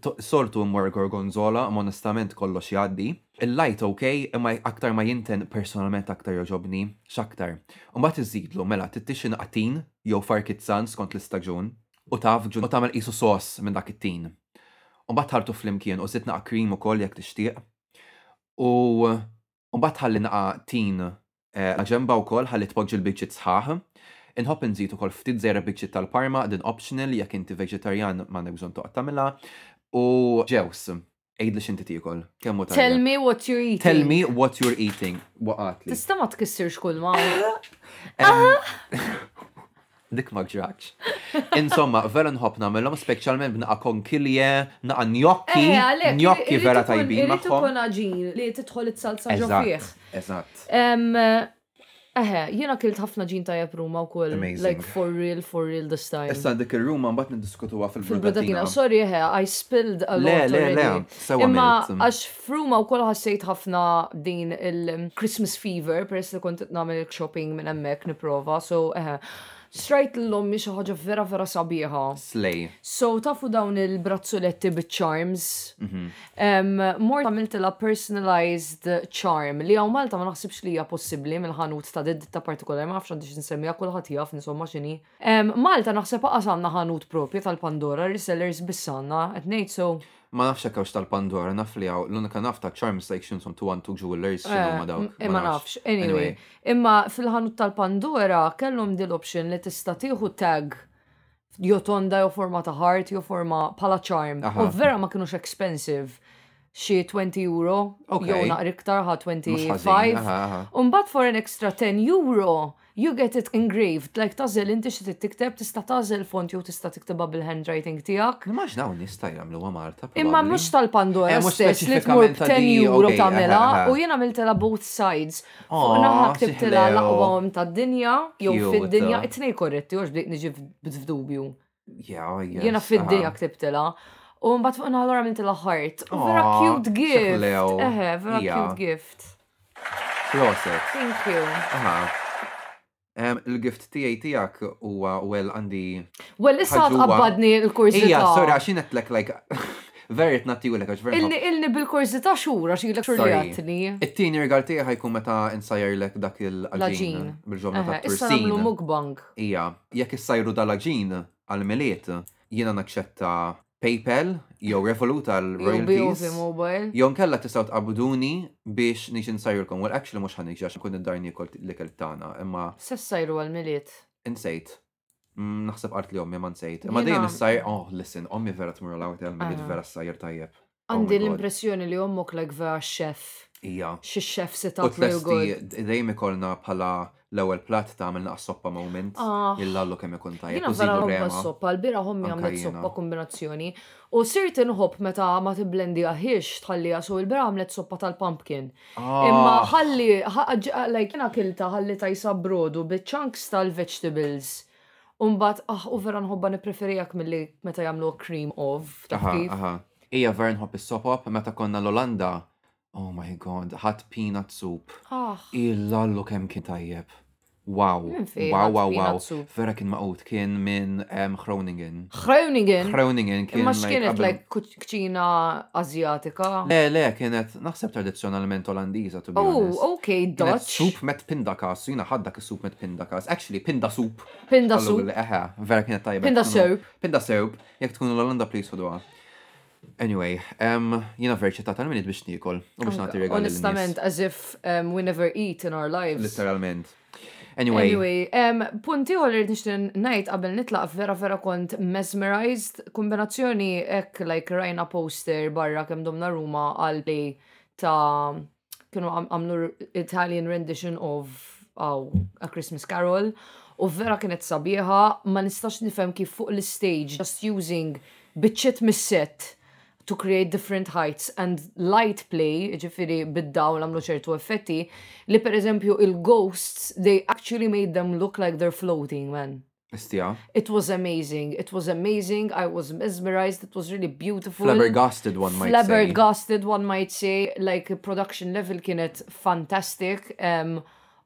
[SPEAKER 5] to- sortu mor gorgonzola, ma onestament kollox jaddi. Il-light ok, imma aktar ma jinten personalment aktar joġobni, xaktar. U ma tiżidlu, mela, tittixin qatin jew farkizzan skont l-istagġun, u taf ġun, u tamel isu sos minn dak it-tin. U bat ħartu fl-imkien u zitna krim u koll jek tixtieq. U u bat ħalli naqa tin eh, ġemba u koll ħalli tpoġġi l-bicċit sħaħ. Inħobb nżid ukoll ftit zera bicċit tal-parma din optional jekk inti vegetarjan m'għandek bżonn toqgħod tagħmilha. U ġews, ejd li x'inti tiekol. Kemm hu
[SPEAKER 3] Tell
[SPEAKER 5] tajjeb.
[SPEAKER 3] me what you're eating.
[SPEAKER 5] Tell me what you're eating. Waqat li.
[SPEAKER 3] Tista ma tkissirx kull ma.
[SPEAKER 5] Em, Dik ma ġraċ. Insomma, vera nħobb nagħmilhom speċjalment b'naqa' konkilje, naqa' gnocchi,
[SPEAKER 3] Eh, għalek,
[SPEAKER 5] gnocchi
[SPEAKER 3] irrid
[SPEAKER 5] vera
[SPEAKER 3] ikun-
[SPEAKER 5] tajbin
[SPEAKER 3] irrid
[SPEAKER 5] magħhom.
[SPEAKER 3] ikun aġin li tidħol it-salsa ġo fih.
[SPEAKER 5] Eżatt, eżatt.
[SPEAKER 3] Em, Eħe, jiena kilt ħafna ġin tajja pruma u koll.
[SPEAKER 5] Amazing.
[SPEAKER 3] Like for real, for real this time.
[SPEAKER 5] Issa dik ir-ruma mbagħad niddiskutuha
[SPEAKER 3] Fil-brodatina,
[SPEAKER 5] fil-brodatina.
[SPEAKER 3] sorry, eħe, I spilled a lot
[SPEAKER 5] Le, le,
[SPEAKER 3] already.
[SPEAKER 5] le, sewa
[SPEAKER 3] Imma
[SPEAKER 5] milt.
[SPEAKER 3] għax fruma u koll ħassejt ħafna din il-Christmas fever, peress li kont namel shopping minn emmek niprofa, so eh, eħe. Strajt l-lommi xaħġa vera vera sabiħa.
[SPEAKER 5] Slej.
[SPEAKER 3] So tafu dawn il-brazzoletti bit-charms. Um, Mor għamilt la personalized charm li għaw Malta ma naħsibx li hija possibbli mill-ħanut ta' ditta partikolari ma nafx għandix nsemmija kulħadd jaf insomma x'inhi. Em, Malta naħseb qas għandna ħanut propju tal-Pandora resellers biss għandna qed ngħid so
[SPEAKER 5] Ma nafx hekk hawx tal-Pandora, naf li hawn l-unika naf ta' charm section som tu għantu jewelers x'inhu ma dawk.
[SPEAKER 3] imma Eh, nafx. Anyway, imma fil-ħanut tal-Pandora kellhom din l-option li tista' tieħu tag jo tonda jo forma ta' heart jo forma pala charm.
[SPEAKER 5] Aha.
[SPEAKER 3] U vera ma kienux expensive. Xi 20 euro,
[SPEAKER 5] Ok.
[SPEAKER 3] jew naqra iktar ħa
[SPEAKER 5] Mhux ħażin,
[SPEAKER 3] 25.
[SPEAKER 5] aha, aha.
[SPEAKER 3] Umbat for an extra 10 euro, you get it engraved. Like tażel inti xi tiktab tista' tażel font jew tista' tiktibha bil-handwriting tiegħek.
[SPEAKER 5] Nimmaġnaw nista jagħmluha Malta.
[SPEAKER 3] Imma
[SPEAKER 5] probably.
[SPEAKER 3] mux tal-Pandora
[SPEAKER 5] Eh, mux
[SPEAKER 3] stess li tmur
[SPEAKER 5] specifikament ta'
[SPEAKER 3] b'10
[SPEAKER 5] di,
[SPEAKER 3] euro
[SPEAKER 5] ok, eh,
[SPEAKER 3] tamela
[SPEAKER 5] aha, aha.
[SPEAKER 3] u jena għamiltela both sides.
[SPEAKER 5] Aw,
[SPEAKER 3] Fuq naħa
[SPEAKER 5] Ah, xi
[SPEAKER 3] ktibtela
[SPEAKER 5] ħlew.
[SPEAKER 3] l-aqwam ta' dinja jew
[SPEAKER 5] Cute.
[SPEAKER 3] fid-dinja, it-tnej korretti, għax bdejt niġi f'dubju.
[SPEAKER 5] Yeah, oh, yes, uh-huh.
[SPEAKER 3] Jena fid-dinja
[SPEAKER 5] aha.
[SPEAKER 3] ktibtela. U mbagħad fuq naħa għamiltela heart. U Vera
[SPEAKER 5] Aw,
[SPEAKER 3] cute
[SPEAKER 5] Ah, xi
[SPEAKER 3] gift.
[SPEAKER 5] ħlew.
[SPEAKER 3] Eħe, vera
[SPEAKER 5] Ja.
[SPEAKER 3] cute gift.
[SPEAKER 5] uh-huh. Proset.
[SPEAKER 3] Thank you.
[SPEAKER 5] Aha. Ah. Em, Il-gift tiegħi tiegħek huwa well għandi.
[SPEAKER 3] Well, issa
[SPEAKER 5] Ħaġuwa.
[SPEAKER 3] tqabbadni l-kurzita.
[SPEAKER 5] Ija, sorry, għax jien qed lek like verit nattiwlek għax verit.
[SPEAKER 3] Illi illi bil-kurzita xura xilek xur li
[SPEAKER 5] Sorry.
[SPEAKER 3] għatni.
[SPEAKER 5] It-tieni regal tiegħi ħajkun meta insajr lek dak il-ġin
[SPEAKER 3] L-aġin.
[SPEAKER 5] bil-ġomna
[SPEAKER 3] Eħe,
[SPEAKER 5] ta'
[SPEAKER 3] Issa namlu
[SPEAKER 5] tursin.
[SPEAKER 3] mukbang.
[SPEAKER 5] Ija, jekk issajru dal-aġin għal-miliet, jiena naċċetta PayPal jew Revolut
[SPEAKER 3] Jew BOV
[SPEAKER 5] għal-royalties.
[SPEAKER 3] mobile.
[SPEAKER 5] Jon kella tistaw tqabduni biex nix insajrkom, well actually mux ħanix għax nkun id-darni kol li keltana, imma
[SPEAKER 3] Sessajru għal-miliet.
[SPEAKER 5] insejt. Mm, Naħseb qart li ommi ma nsejt. Imma dejjem
[SPEAKER 3] Jena-
[SPEAKER 5] issajr, oh, listen, ommi vera tmur l-għawet għal-miliet
[SPEAKER 3] Ah.
[SPEAKER 5] vera s-sajr tajjeb. Oh my
[SPEAKER 3] Għandi
[SPEAKER 5] God.
[SPEAKER 3] l-impressjoni li jommok like vera xef.
[SPEAKER 5] Ija.
[SPEAKER 3] Xi xef se
[SPEAKER 5] U
[SPEAKER 3] tatlu
[SPEAKER 5] t-lesti
[SPEAKER 3] jgħod.
[SPEAKER 5] dejjem ikolna bħala l-ewel plat ta' għamilna soppa moment.
[SPEAKER 3] Ah.
[SPEAKER 5] Jillallu kemm ikun tajjeb.
[SPEAKER 3] Jina
[SPEAKER 5] u
[SPEAKER 3] vera
[SPEAKER 5] żidu
[SPEAKER 3] ħobba
[SPEAKER 5] rema.
[SPEAKER 3] s-soppa, l-bira hommi
[SPEAKER 5] Anka
[SPEAKER 3] għamlet
[SPEAKER 5] jiena.
[SPEAKER 3] soppa kombinazzjoni. U sirt inħobb meta ma tibblendi għahiex tħallija, so l-bira għamlet soppa tal-pumpkin. Imma
[SPEAKER 5] Ah.
[SPEAKER 3] ħalli, ħa- ġ- like jina kilta ħalli tajsa brodu bit-chunks tal-vegetables. Umbat, ah, u vera nħobba nipreferijak mill-li meta jamlu cream of. taf
[SPEAKER 5] Aha,
[SPEAKER 3] kif?
[SPEAKER 5] aha. Ija vera nħobb is-sopop meta konna l-Olanda. Oh my god, ħadd peanut soup.
[SPEAKER 3] Ah,
[SPEAKER 5] Il-lallu kem kien tajjeb. Wow,
[SPEAKER 3] Minn fejn
[SPEAKER 5] wow,
[SPEAKER 3] għad
[SPEAKER 5] wow,
[SPEAKER 3] peanut
[SPEAKER 5] wow.
[SPEAKER 3] soup?
[SPEAKER 5] Vera kien maqut, kien minn um, Groningen.
[SPEAKER 3] Groningen.
[SPEAKER 5] Groningen kien.
[SPEAKER 3] Imma x'kienet
[SPEAKER 5] qabel-
[SPEAKER 3] like kuċ- kċina Azjatika.
[SPEAKER 5] Le, le, kienet, naħseb tradizjonalment olandiza, to be honest.
[SPEAKER 3] Oh, okay,
[SPEAKER 5] Kienet
[SPEAKER 3] Dutch.
[SPEAKER 5] Soup met pindakas, jina ħaddak is-soup met pindakas. Actually, pinda soup.
[SPEAKER 3] Pinda
[SPEAKER 5] Għallu
[SPEAKER 3] soup.
[SPEAKER 5] li- Eħe, vera kienet tajjeb.
[SPEAKER 3] Pinda
[SPEAKER 5] Jekk tkunu-
[SPEAKER 3] soup.
[SPEAKER 5] Pinda soup, jek tkun l-Olanda please ħodwa. Anyway, um, jina verċita tal-minit biex nikol, u biex nagħti regali.
[SPEAKER 3] Honestament, as if um, we never eat in our lives.
[SPEAKER 5] Literalment. Anyway,
[SPEAKER 3] Anyway, um, punti għol irrid nixtin najt qabel nitlaq vera vera kont mesmerized, kombinazzjoni ek like rajna poster barra kem domna Ruma għalli ta' kienu għam- għamlu Italian rendition of aw, A Christmas Carol u vera kienet sabiħa ma nistax nifhem kif fuq l-stage just using bitċet mis-set to create different heights and light play, ġifiri bid-dawl għamlu ċertu effetti, li per eżempju il-ghosts, they actually made them look like they're floating, man.
[SPEAKER 5] istija,
[SPEAKER 3] It was amazing. It was amazing. I was mesmerized. It was really beautiful.
[SPEAKER 5] flabbergasted one might say.
[SPEAKER 3] Flabbergasted, one might say. Like, production level kienet fantastic. Um,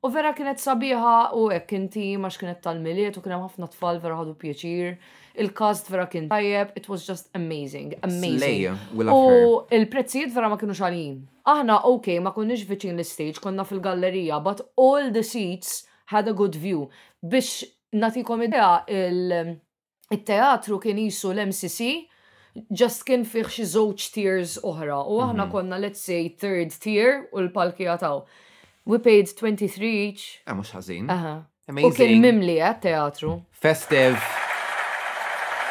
[SPEAKER 3] u vera kienet sabiħa u hekk inti max kienet tal-miliet u kienem ħafna tfal vera ħadu pjaċir. Il-cast vera kien tajjeb. It was just amazing. Amazing.
[SPEAKER 5] Slay, we love her.
[SPEAKER 3] U il-prezzijiet vera ma kienu xalin. Aħna, ok, ma konniex viċin l-stage, konna fil-gallerija, but all the seats had a good view. Biex natikom idea, il- il-teatru kien jisu l-MCC, just kien fiħ xi żewġ tiers oħra. U
[SPEAKER 5] Mhm.
[SPEAKER 3] aħna konna, let's say, third tier u l-palki jataw. We paid 23 each.
[SPEAKER 5] Eh, mux ħazin.
[SPEAKER 3] Aha. U kien
[SPEAKER 5] Amazing.
[SPEAKER 3] mimli għat teatru.
[SPEAKER 5] Festive.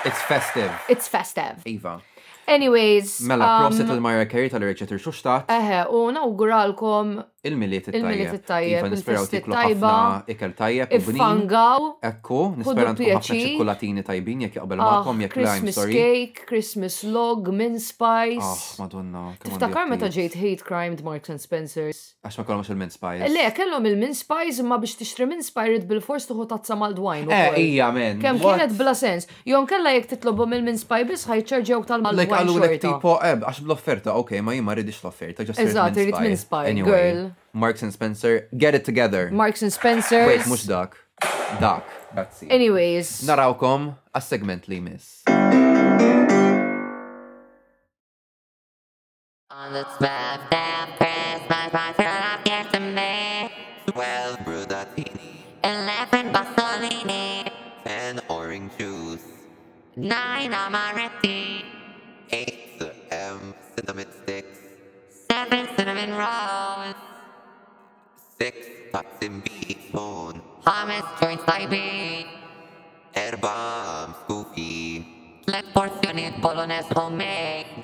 [SPEAKER 5] It's festive.
[SPEAKER 3] It's festive.
[SPEAKER 5] Iva.
[SPEAKER 3] Anyways.
[SPEAKER 5] Mela,
[SPEAKER 3] um,
[SPEAKER 5] proset il-Mariah Carey tal-Reċeter xuxtat.
[SPEAKER 3] Eħe, u nawguralkom
[SPEAKER 5] il-miliet it-tajjeb.
[SPEAKER 3] Il-miliet it-tajjeb,
[SPEAKER 5] Iva, nisperaw
[SPEAKER 3] il-festi
[SPEAKER 5] tiklu
[SPEAKER 3] tajba,
[SPEAKER 5] ħafna ikel tajjeb u bnin.
[SPEAKER 3] Iffangaw.
[SPEAKER 5] Ekku,
[SPEAKER 3] Ħudu
[SPEAKER 5] nisperaw tkun ħafna
[SPEAKER 3] pjaċir.
[SPEAKER 5] ċikolatini tajbin jekk jaqbel
[SPEAKER 3] Ah,
[SPEAKER 5] ma'kom jekk lime,
[SPEAKER 3] Christmas
[SPEAKER 5] sorry.
[SPEAKER 3] cake, Christmas log, min
[SPEAKER 5] Ah,
[SPEAKER 3] spice.
[SPEAKER 5] madonna. kemm għandi
[SPEAKER 3] Tiftakar meta
[SPEAKER 5] appetite.
[SPEAKER 3] ġejt hate crime d' Marks and Spencers.
[SPEAKER 5] Għax ma kollha il-mint spice.
[SPEAKER 3] Le, kellhom il-min spice imma biex tixtri min spice irid bil-fors tuħu tazza mal-dwajn.
[SPEAKER 5] Eh, ija, men.
[SPEAKER 3] Kem
[SPEAKER 5] what?
[SPEAKER 3] kienet bla sens. Jon kella jek titlobhom il-min spice biss ħajċerġewk
[SPEAKER 5] Like,
[SPEAKER 3] tal-mal-dwajn.
[SPEAKER 5] għallu l
[SPEAKER 3] xorta.
[SPEAKER 5] tipo, eb, għax bl-offerta, ok, ma jimma rridix l-offerta, ġas
[SPEAKER 3] Eżatt, irrid
[SPEAKER 5] rrid
[SPEAKER 3] minn spy,
[SPEAKER 5] Anyway,
[SPEAKER 3] girl.
[SPEAKER 5] Marks and Spencer, get it together.
[SPEAKER 3] Marks and Spencers.
[SPEAKER 5] Wait, mux dak. Dak. Grazzi.
[SPEAKER 3] Anyways.
[SPEAKER 5] Narawkom għas-segment li miss.
[SPEAKER 6] On the twelfth day of Christmas, my girl appeared to me.
[SPEAKER 7] Twelve brudatini,
[SPEAKER 6] Eleven Pasolini,
[SPEAKER 7] ten orange juice,
[SPEAKER 6] nine Amaretti,
[SPEAKER 7] eight um, cinnamon sticks,
[SPEAKER 6] seven cinnamon rolls,
[SPEAKER 7] six toxin bone,
[SPEAKER 6] hummus joint side
[SPEAKER 7] erba scoopy,
[SPEAKER 6] tlet porzjoniet bolognese homemade,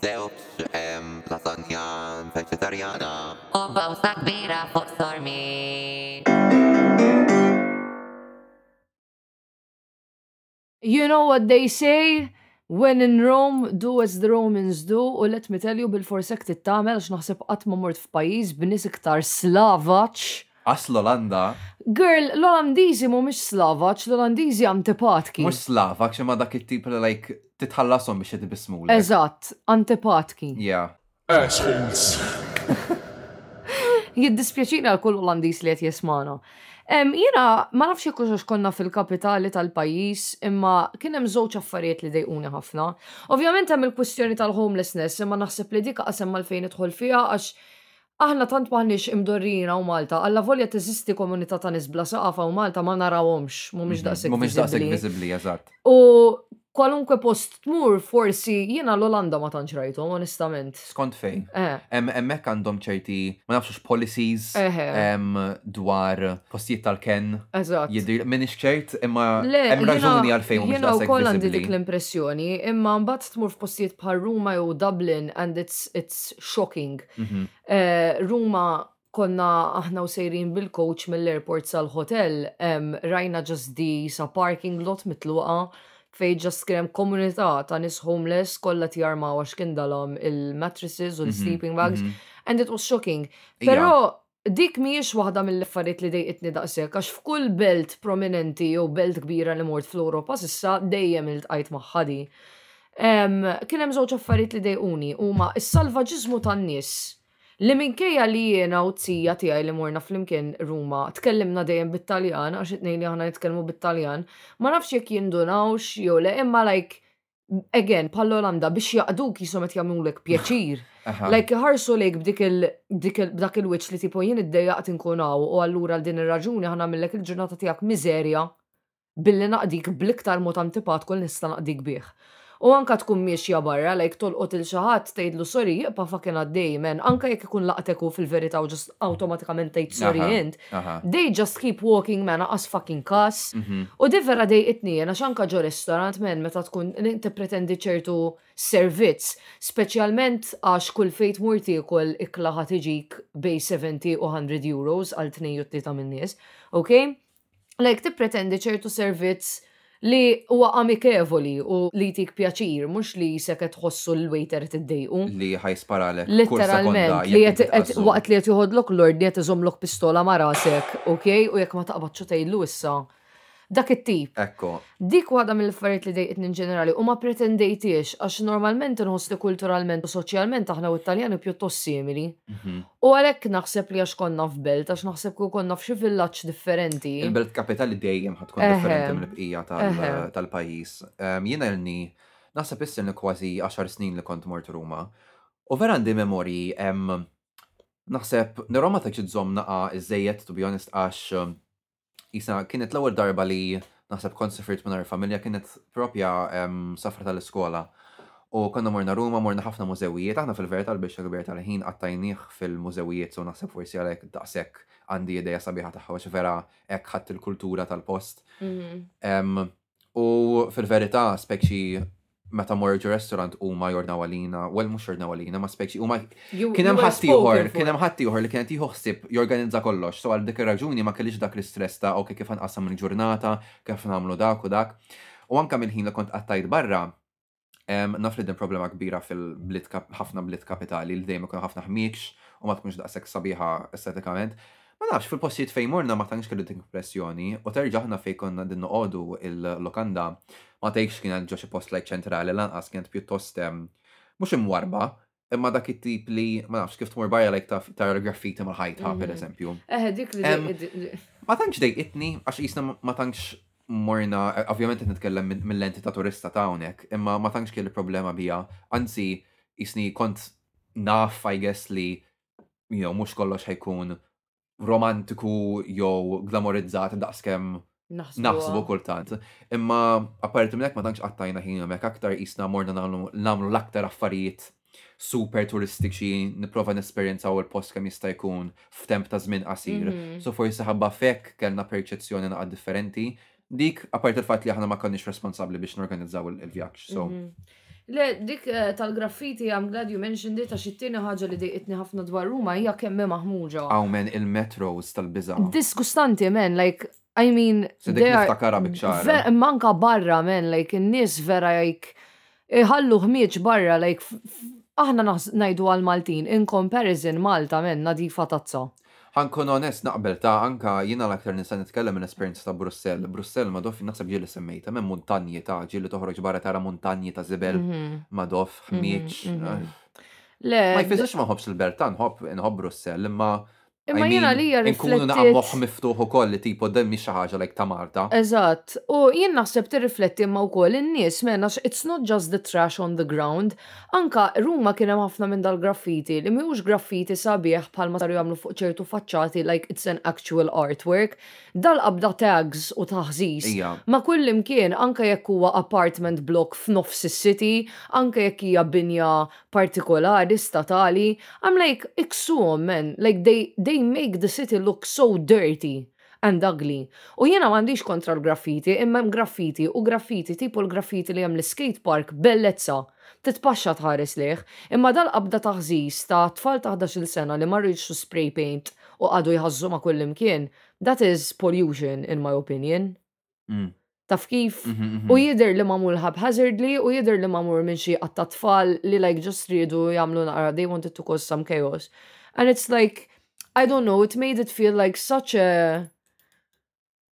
[SPEAKER 7] zewċ um, lasagna vegetariana.
[SPEAKER 6] u bawsa kbira fuq sormi.
[SPEAKER 3] You know what they say? When in Rome, do as the Romans do, u let me tell you bil-forsek tittamel għax naħseb qatt ma mort f'pajjiż b'nies iktar slavaċ.
[SPEAKER 5] Għas l-Olanda,
[SPEAKER 3] Girl, l-Olandiżi mhumiex slavaċ, l-Olandiżi antipatki.
[SPEAKER 5] mux slava, xema dak il-tip li, like, titħallasom biex jitibismu l
[SPEAKER 3] Eżatt, antipatki.
[SPEAKER 5] Yeah.
[SPEAKER 4] Assholes.
[SPEAKER 3] jiddispjaċina l-kull Olandis li qed jismana. Em, Jena, ma nafx jekk kux konna fil-kapitali tal-pajis, imma kien hemm żewġ affarijiet li dejquni ħafna. Ovvjament hemm il-kwistjoni tal-homelessness, imma naħseb li dik qasem mal-fejn idħol fiha għax aħna tant maħniex imdorrina u Malta, alla volja teżisti komunità ta' nisbla saqafa u Malta ma narawhomx, Mhm, mhumiex daqshekk.
[SPEAKER 5] Mumiex daqseg
[SPEAKER 3] viżibbli.
[SPEAKER 5] vizibli, eżatt.
[SPEAKER 3] U kwalunkwe post tmur forsi jiena l-Olanda ma tantx rajthom, onestament.
[SPEAKER 5] Skont fejn?
[SPEAKER 3] Eh.
[SPEAKER 5] Em, emmek għandhom ċerti, ma nafxux policies
[SPEAKER 3] Eħe.
[SPEAKER 5] em, dwar postijiet tal-ken.
[SPEAKER 3] Eżatt.
[SPEAKER 5] Jidir, minix ċert, imma
[SPEAKER 3] Le,
[SPEAKER 5] hemm raġuni
[SPEAKER 3] jena-
[SPEAKER 5] għalfejn mhux
[SPEAKER 3] jena u
[SPEAKER 5] daqshekk
[SPEAKER 3] koll għandi dik
[SPEAKER 5] viżibbli.
[SPEAKER 3] l-impressjoni, imma mbagħad tmur f'postijiet bħal Ruma jew Dublin and it's it's shocking.
[SPEAKER 5] Mhm.
[SPEAKER 3] Eh, Ruma konna aħna u sejrin bil-coach mill-airport sal-hotel, em, rajna just di sa parking lot mitluqa fej just krem komunità ta' nis homeless kollha tjarma għax kien dalhom il-mattresses u
[SPEAKER 5] Mhm,
[SPEAKER 3] l-sleeping bags and it was shocking.
[SPEAKER 5] Ija.
[SPEAKER 3] Pero dik miex waħda mill-affarijiet li dejqitni daqshekk għax f'kull belt prominenti jew belt kbira li mort fl-Ewropa s'issa dejjem il-tqajt maħħadi. Um, kien hemm żewġ affarijiet li dejquni huma s-salvaġiżmu tan-nies. Li minkejja li jiena u tzija tiegħi li morna flimkien Ruma tkellimna dejjem bit-Taljan għax it-tnejn li aħna nitkellmu bit-Taljan, ma nafx jekk jindunawx jew le imma like again pall-Olanda biex jaqduk jisom qed jagħmlulek pjaċir.
[SPEAKER 5] Aha.
[SPEAKER 3] Like ħarsu lejk b'dik il- dik il- b'dak il-witch li tipo jien id-dejjaqt inkunaw u allura l din ir-raġuni ħana millek il-ġurnata tiegħek miżerja billi naqdik bliktar mod antipat kull nista naqdik bih. U anka tkun miexja barra, like tolqot il-xaħat tgħidlu sorry jibqa' fucking għaddej men, anka jekk ikun laqtek u fil-verità u ġust awtomatikament tgħid sorry
[SPEAKER 5] Aha,
[SPEAKER 3] int,
[SPEAKER 5] aha.
[SPEAKER 3] they just keep walking man as fucking kas. U di vera dej itnien, għax anka ġo restorant men meta tkun inti pretendi ċertu servizz, speċjalment għax kull fejt murti kol ikla ħatiġik bej 70 u 100 euros għal tnejju tlita minn nies, ok? Like ti pretendi ċertu servizz li huwa amikevoli u li tik pjaċir, mux li seket tħossu l-waiter tiddejqu.
[SPEAKER 5] Li ħajsparalek. kull sekonda
[SPEAKER 3] Literalment,
[SPEAKER 5] jekk
[SPEAKER 3] li jett,
[SPEAKER 5] inti
[SPEAKER 3] et,
[SPEAKER 5] tqazzu.
[SPEAKER 3] waqt li jett juhodlok l-ord, li jett iżomlok pistola ma rasek, ok? U jekk ma taqbad tejlu issa. Dak it-tip.
[SPEAKER 5] Ekko,
[SPEAKER 3] Dik waħda mill-affarijiet li dejqitni in ġenerali u ma pretendejtiex għax normalment inħoss li kulturalment u soċjalment aħna u italjani pjuttost simili.
[SPEAKER 5] Mhm.
[SPEAKER 3] U għalhekk naħseb li għax konna f'belt, għax naħseb li konna f'xi villaġġ differenti.
[SPEAKER 5] il-belt kapitali dejjem ħatkun
[SPEAKER 3] Eħe.
[SPEAKER 5] differenti mill-bqija tal-
[SPEAKER 3] Ehe.
[SPEAKER 5] tal-pajis. Em, Jiena l-ni, nasab issin li kważi 10 snin li kont mort Ruma. U vera għandi memori, em, naħseb, n-Roma ta' ġidżom naqa iż-żejjed, to be honest, għax em, jisa kienet l-ewwel darba li naħseb kont sifirt minn familja kienet propja em, safra tal-iskola. U konna morna Ruma, morna ħafna mużewijiet, aħna fil-verità l-biex il-bert tal-ħin għattajniħ fil-mużewijiet, so naħseb forsi għalek daqsek għandi ideja sabiħa taħħa, għax vera ek ħadd il-kultura tal-post.
[SPEAKER 3] Mhm.
[SPEAKER 5] Em, u fil-verità spekċi meta morġu restaurant u ma jorna għalina, well mux jorna għalina, ma spekxi, u ma
[SPEAKER 3] You-
[SPEAKER 5] kienem
[SPEAKER 3] you were
[SPEAKER 5] ħatti uħor,
[SPEAKER 3] spoken for.
[SPEAKER 5] kienem ħatti uħor li kienet jħossib jorganizza kollox, so għal dik raġuni ma kellix dak l-istress ta' ok kif nqassam il-ġurnata, kif namlu dak u dak. U anka minn ħin li kont qattajt barra, em, naf li din problema kbira fil-blit kap- ħafna blit kapitali li dejjem ikun ħafna ħmiekx u ma tkunx daqshekk sabiħa estetikament. Ma nafx fil-postijiet fejn morna ma tantx kellu dik impressjoni u terġa' aħna fejn konna din noqogħdu il-lokanda ma tgħidx kienet ġo xi post like ċentrali lanqas kienet pjuttost em, mhux imwarba imma dak it-tip li ma nafx kif tmur barra like ta' ta' graffiti mal-ħajtha pereżempju.
[SPEAKER 3] Eh, dik li.
[SPEAKER 5] Em,
[SPEAKER 3] di- di-
[SPEAKER 5] Ma tantx dejqitni, għax jisna ma tantx morna, eh, ovvjament qed nitkellem minn- mill-lenti ta' turista ta' hawnhekk, imma ma tantx kelli problema bija. Anzi, jisni kont naf, I guess, li you know, mhux kollox ħajkun romantiku jew glamorizzat daqskemm
[SPEAKER 3] Naħsbu.
[SPEAKER 5] naħsbu kultant. Imma apparti minn hekk ma tantx qattajna ħin hemmhekk aktar jisna morna nagħmlu nagħmlu l-aktar affarijiet super turistiċi, niprofa nesperjenzaw il-post kemm jista' jkun f'temp ta' żmien qasir.
[SPEAKER 3] Mhm.
[SPEAKER 5] So forsi ħabba fekk kellna perċezzjoni naqad differenti. Dik, apart il-fat li aħna ma konniex responsabli biex norganizzaw il- il-vjaġġ. So,
[SPEAKER 3] Mhm. Le, dik eh, tal-graffiti, I'm glad you mentioned it, għax it-tieni ħaġa li dejqitni ħafna dwar Ruma hija kemm hemm maħmuġa.
[SPEAKER 5] għaw men il-metros tal-biza.
[SPEAKER 3] Disgustanti, man, like, I mean,
[SPEAKER 5] So dik
[SPEAKER 3] they are-
[SPEAKER 5] niftakara bikċara.
[SPEAKER 3] Ver- Manka barra, man, like, n-nis vera, like, iħallu ħmieċ barra, like, f- f- aħna naħs- najdu għal-Maltin, in comparison Malta, man, nadifa tazza.
[SPEAKER 5] Ħankun onest naqbel ta' anka jina l-aktar nisa nitkellem minn esperjenza ta' Brussell. Brussell ma doffi naħseb ġieli semmejta, men montanji ta' ġieli toħroġ barra tara montanji ta' zibel,
[SPEAKER 3] Mhm.
[SPEAKER 5] ma doff, ħmieċ.
[SPEAKER 3] mhm.
[SPEAKER 5] eh. Ma
[SPEAKER 3] Le,
[SPEAKER 5] jfizzax ma nħobx il-Berta, nħobb nħobb Brussell, imma.
[SPEAKER 3] imma jena li hija
[SPEAKER 5] Nkunu naqam moħ
[SPEAKER 3] riflettit.
[SPEAKER 5] miftuħ u koll li tipo demmi xaħġa like ta' Marta.
[SPEAKER 3] Eh, Eżatt, u jien naħseb tirrifletti imma wkoll in-nies men għax it's not just the trash on the ground. Anka Ruma kien hemm ħafna minn dal-graffiti li mhijiex graffiti sabiħ bħalma saru jagħmlu fuq ċertu faċċati like it's an actual artwork. Dal-qabda tags u taħżis
[SPEAKER 5] Ija.
[SPEAKER 3] Ma kull imkien, anka jekk huwa apartment block f'nofs is-city, anka jekk hija binja partikolari, statali, I'm like, iksuhom men, like they, they make the city look so dirty and ugly. U jena m'għandix kontra l-graffiti, imma hemm graffiti u graffiti tipo l-graffiti li hemm l-skate park bellezza. Titpaxxa tħares leħ, imma dal-qabda taħżis ta' tfal ta' 11 sena li marriċu spray paint u għadu jħazzu ma' kull imkien, that is pollution in my opinion.
[SPEAKER 5] Mm,
[SPEAKER 3] Taf kif?
[SPEAKER 5] mhm, mhm.
[SPEAKER 3] U jider li mamur haphazardly u jider li mamur minn xi qatt ta' tfal li like just ridu jagħmlu naqra they wanted to cause some chaos. And it's like I don't know, it made it feel like such a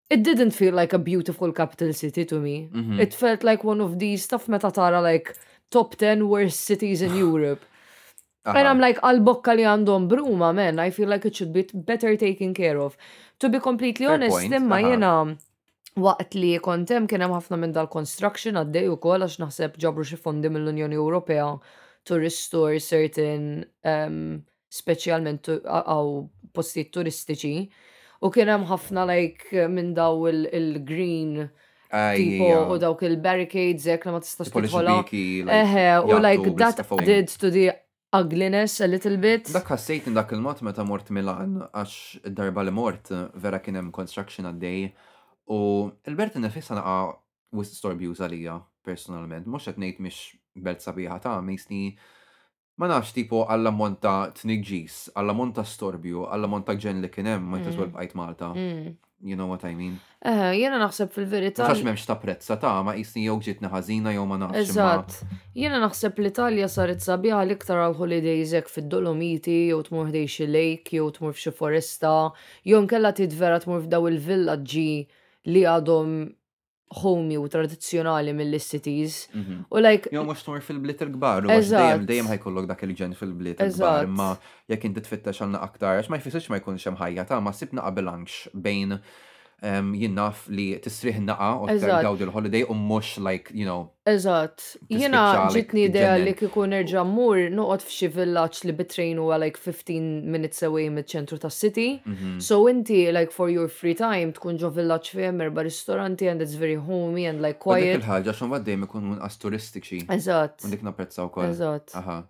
[SPEAKER 3] It didn't feel like a beautiful capital city to me.
[SPEAKER 5] Mhm.
[SPEAKER 3] It felt like one of these taf meta tara like top 10 worst cities in Europe. And
[SPEAKER 5] Aha.
[SPEAKER 3] I'm like, għal-bokka li għandhom bruma, man, I feel like it should be better taken care of. To be completely
[SPEAKER 5] Fair
[SPEAKER 3] honest,
[SPEAKER 5] point,
[SPEAKER 3] imma
[SPEAKER 5] aha.
[SPEAKER 3] jena waqt li kontem kienem ħafna minn dal-construction għaddej u kol għax naħseb ġabru xi fondi mill-Unjoni Ewropea to restore certain um, specialment għaw postijiet turistiċi. U kienem ħafna like minn daw il- il-green
[SPEAKER 5] Aj,
[SPEAKER 3] tipo
[SPEAKER 5] ija.
[SPEAKER 3] u dawk il-barricades jek li ma tistax
[SPEAKER 5] Tipo li
[SPEAKER 3] tidħolha.
[SPEAKER 5] xbiki, like,
[SPEAKER 3] Eħe, u
[SPEAKER 5] jgħattu
[SPEAKER 3] like that
[SPEAKER 5] bl-scaffolding.
[SPEAKER 3] did to the ugliness a little bit.
[SPEAKER 5] Dak ħassejt dak il-mod meta mort Milan, għax id-darba li mort vera kien hemm construction għaddej u il-Bert nefissa naqa with store views għalija personalment, mhux qed ngħid mhix belt sabiħa ta' misni ma nafx tipo għalla monta tniġġis, għalla monta storbju, għalla monta ġen li kien hemm ma
[SPEAKER 3] Mm.
[SPEAKER 5] jtażwel bqajt Malta.
[SPEAKER 3] Mm.
[SPEAKER 5] You know what I mean?
[SPEAKER 3] Eħe, jena naħseb fil-verita.
[SPEAKER 5] Tax m'hemmx ta' prezza ta' ma jisni jew ġiet ħażina jew ma nafx. imma-
[SPEAKER 3] Eżatt. Jena naħseb l-Italja saret sabiħa l-iktar għal-holidays jek fil-Dolomiti, jew tmur ħdej xi lake, jew tmur f'xi foresta, jew nkella tidvera tmur f'daw il-villaġġi li għadhom homey u tradizzjonali mill-cities.
[SPEAKER 5] Mhm.
[SPEAKER 3] U like,
[SPEAKER 5] Jew mhux tmur fil-blit il-kbar, u għax
[SPEAKER 3] Eżatt.
[SPEAKER 5] dejjem dejjem ħajkollok dak il-ġen fil-blit il-kbar,
[SPEAKER 3] Eżatt.
[SPEAKER 5] imma jekk inti tfittex għandna aktar, għax ma jfissirx ma jkunx hemm ħajja ta' ma sibna qabilanx bejn em, jien naf li tisriħ naqa u
[SPEAKER 3] Eżatt.
[SPEAKER 5] tgawdi l-holiday u mhux like, you know,
[SPEAKER 3] Eżatt, jena
[SPEAKER 5] Tispiċċa li
[SPEAKER 3] ġitni idea li
[SPEAKER 5] titġennel.
[SPEAKER 3] kiku nerġa' mmur noqgħod f'xi villaġġ li bitrejn huwa like 15 minutes away miċ-ċentru tas-city.
[SPEAKER 5] mhm.
[SPEAKER 3] So inti like for your free time tkun ġo villaġġ fejn erba' ristoranti and it's very homey and like
[SPEAKER 5] U dik
[SPEAKER 3] quiet.
[SPEAKER 5] il-ħaġa xum dejjem ikun inqas turistiċi.
[SPEAKER 3] Eżatt.
[SPEAKER 5] U dik Ah. napprezzaw ukoll.
[SPEAKER 3] Eżatt.
[SPEAKER 5] Aha.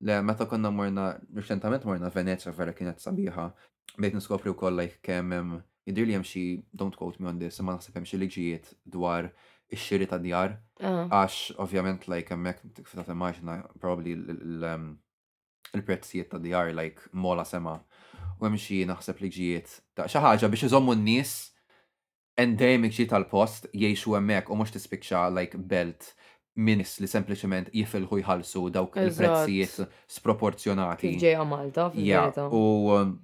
[SPEAKER 5] Le, meta konna morna, reċentament morna Venezia vera kienet sabiħa. Bejt niskopri u koll like kemm hemm jidir li hemm xi don't quote me on this, imma naħseb hemm xi liġijiet dwar ix-xiri ta' djar.
[SPEAKER 3] Ah,
[SPEAKER 5] Għax, ovvjament, like, emmek, t-ftat immaġna, probably l- l- l- um, il-prezzijiet ta' djar, like, mola sema. U hemm xi naħseb li ġiet ta' xi ħaġa biex iżommu n-nies endemic ġiet tal-post jgħixu hemmhekk u mhux tispiċċa like belt minis li sempliċement jifilħu jħallsu dawk
[SPEAKER 3] Eżatt.
[SPEAKER 5] il-prezzijiet sproporzjonati.
[SPEAKER 3] kif ġejja Malta
[SPEAKER 5] Ja,
[SPEAKER 3] fil-verità.
[SPEAKER 5] u um,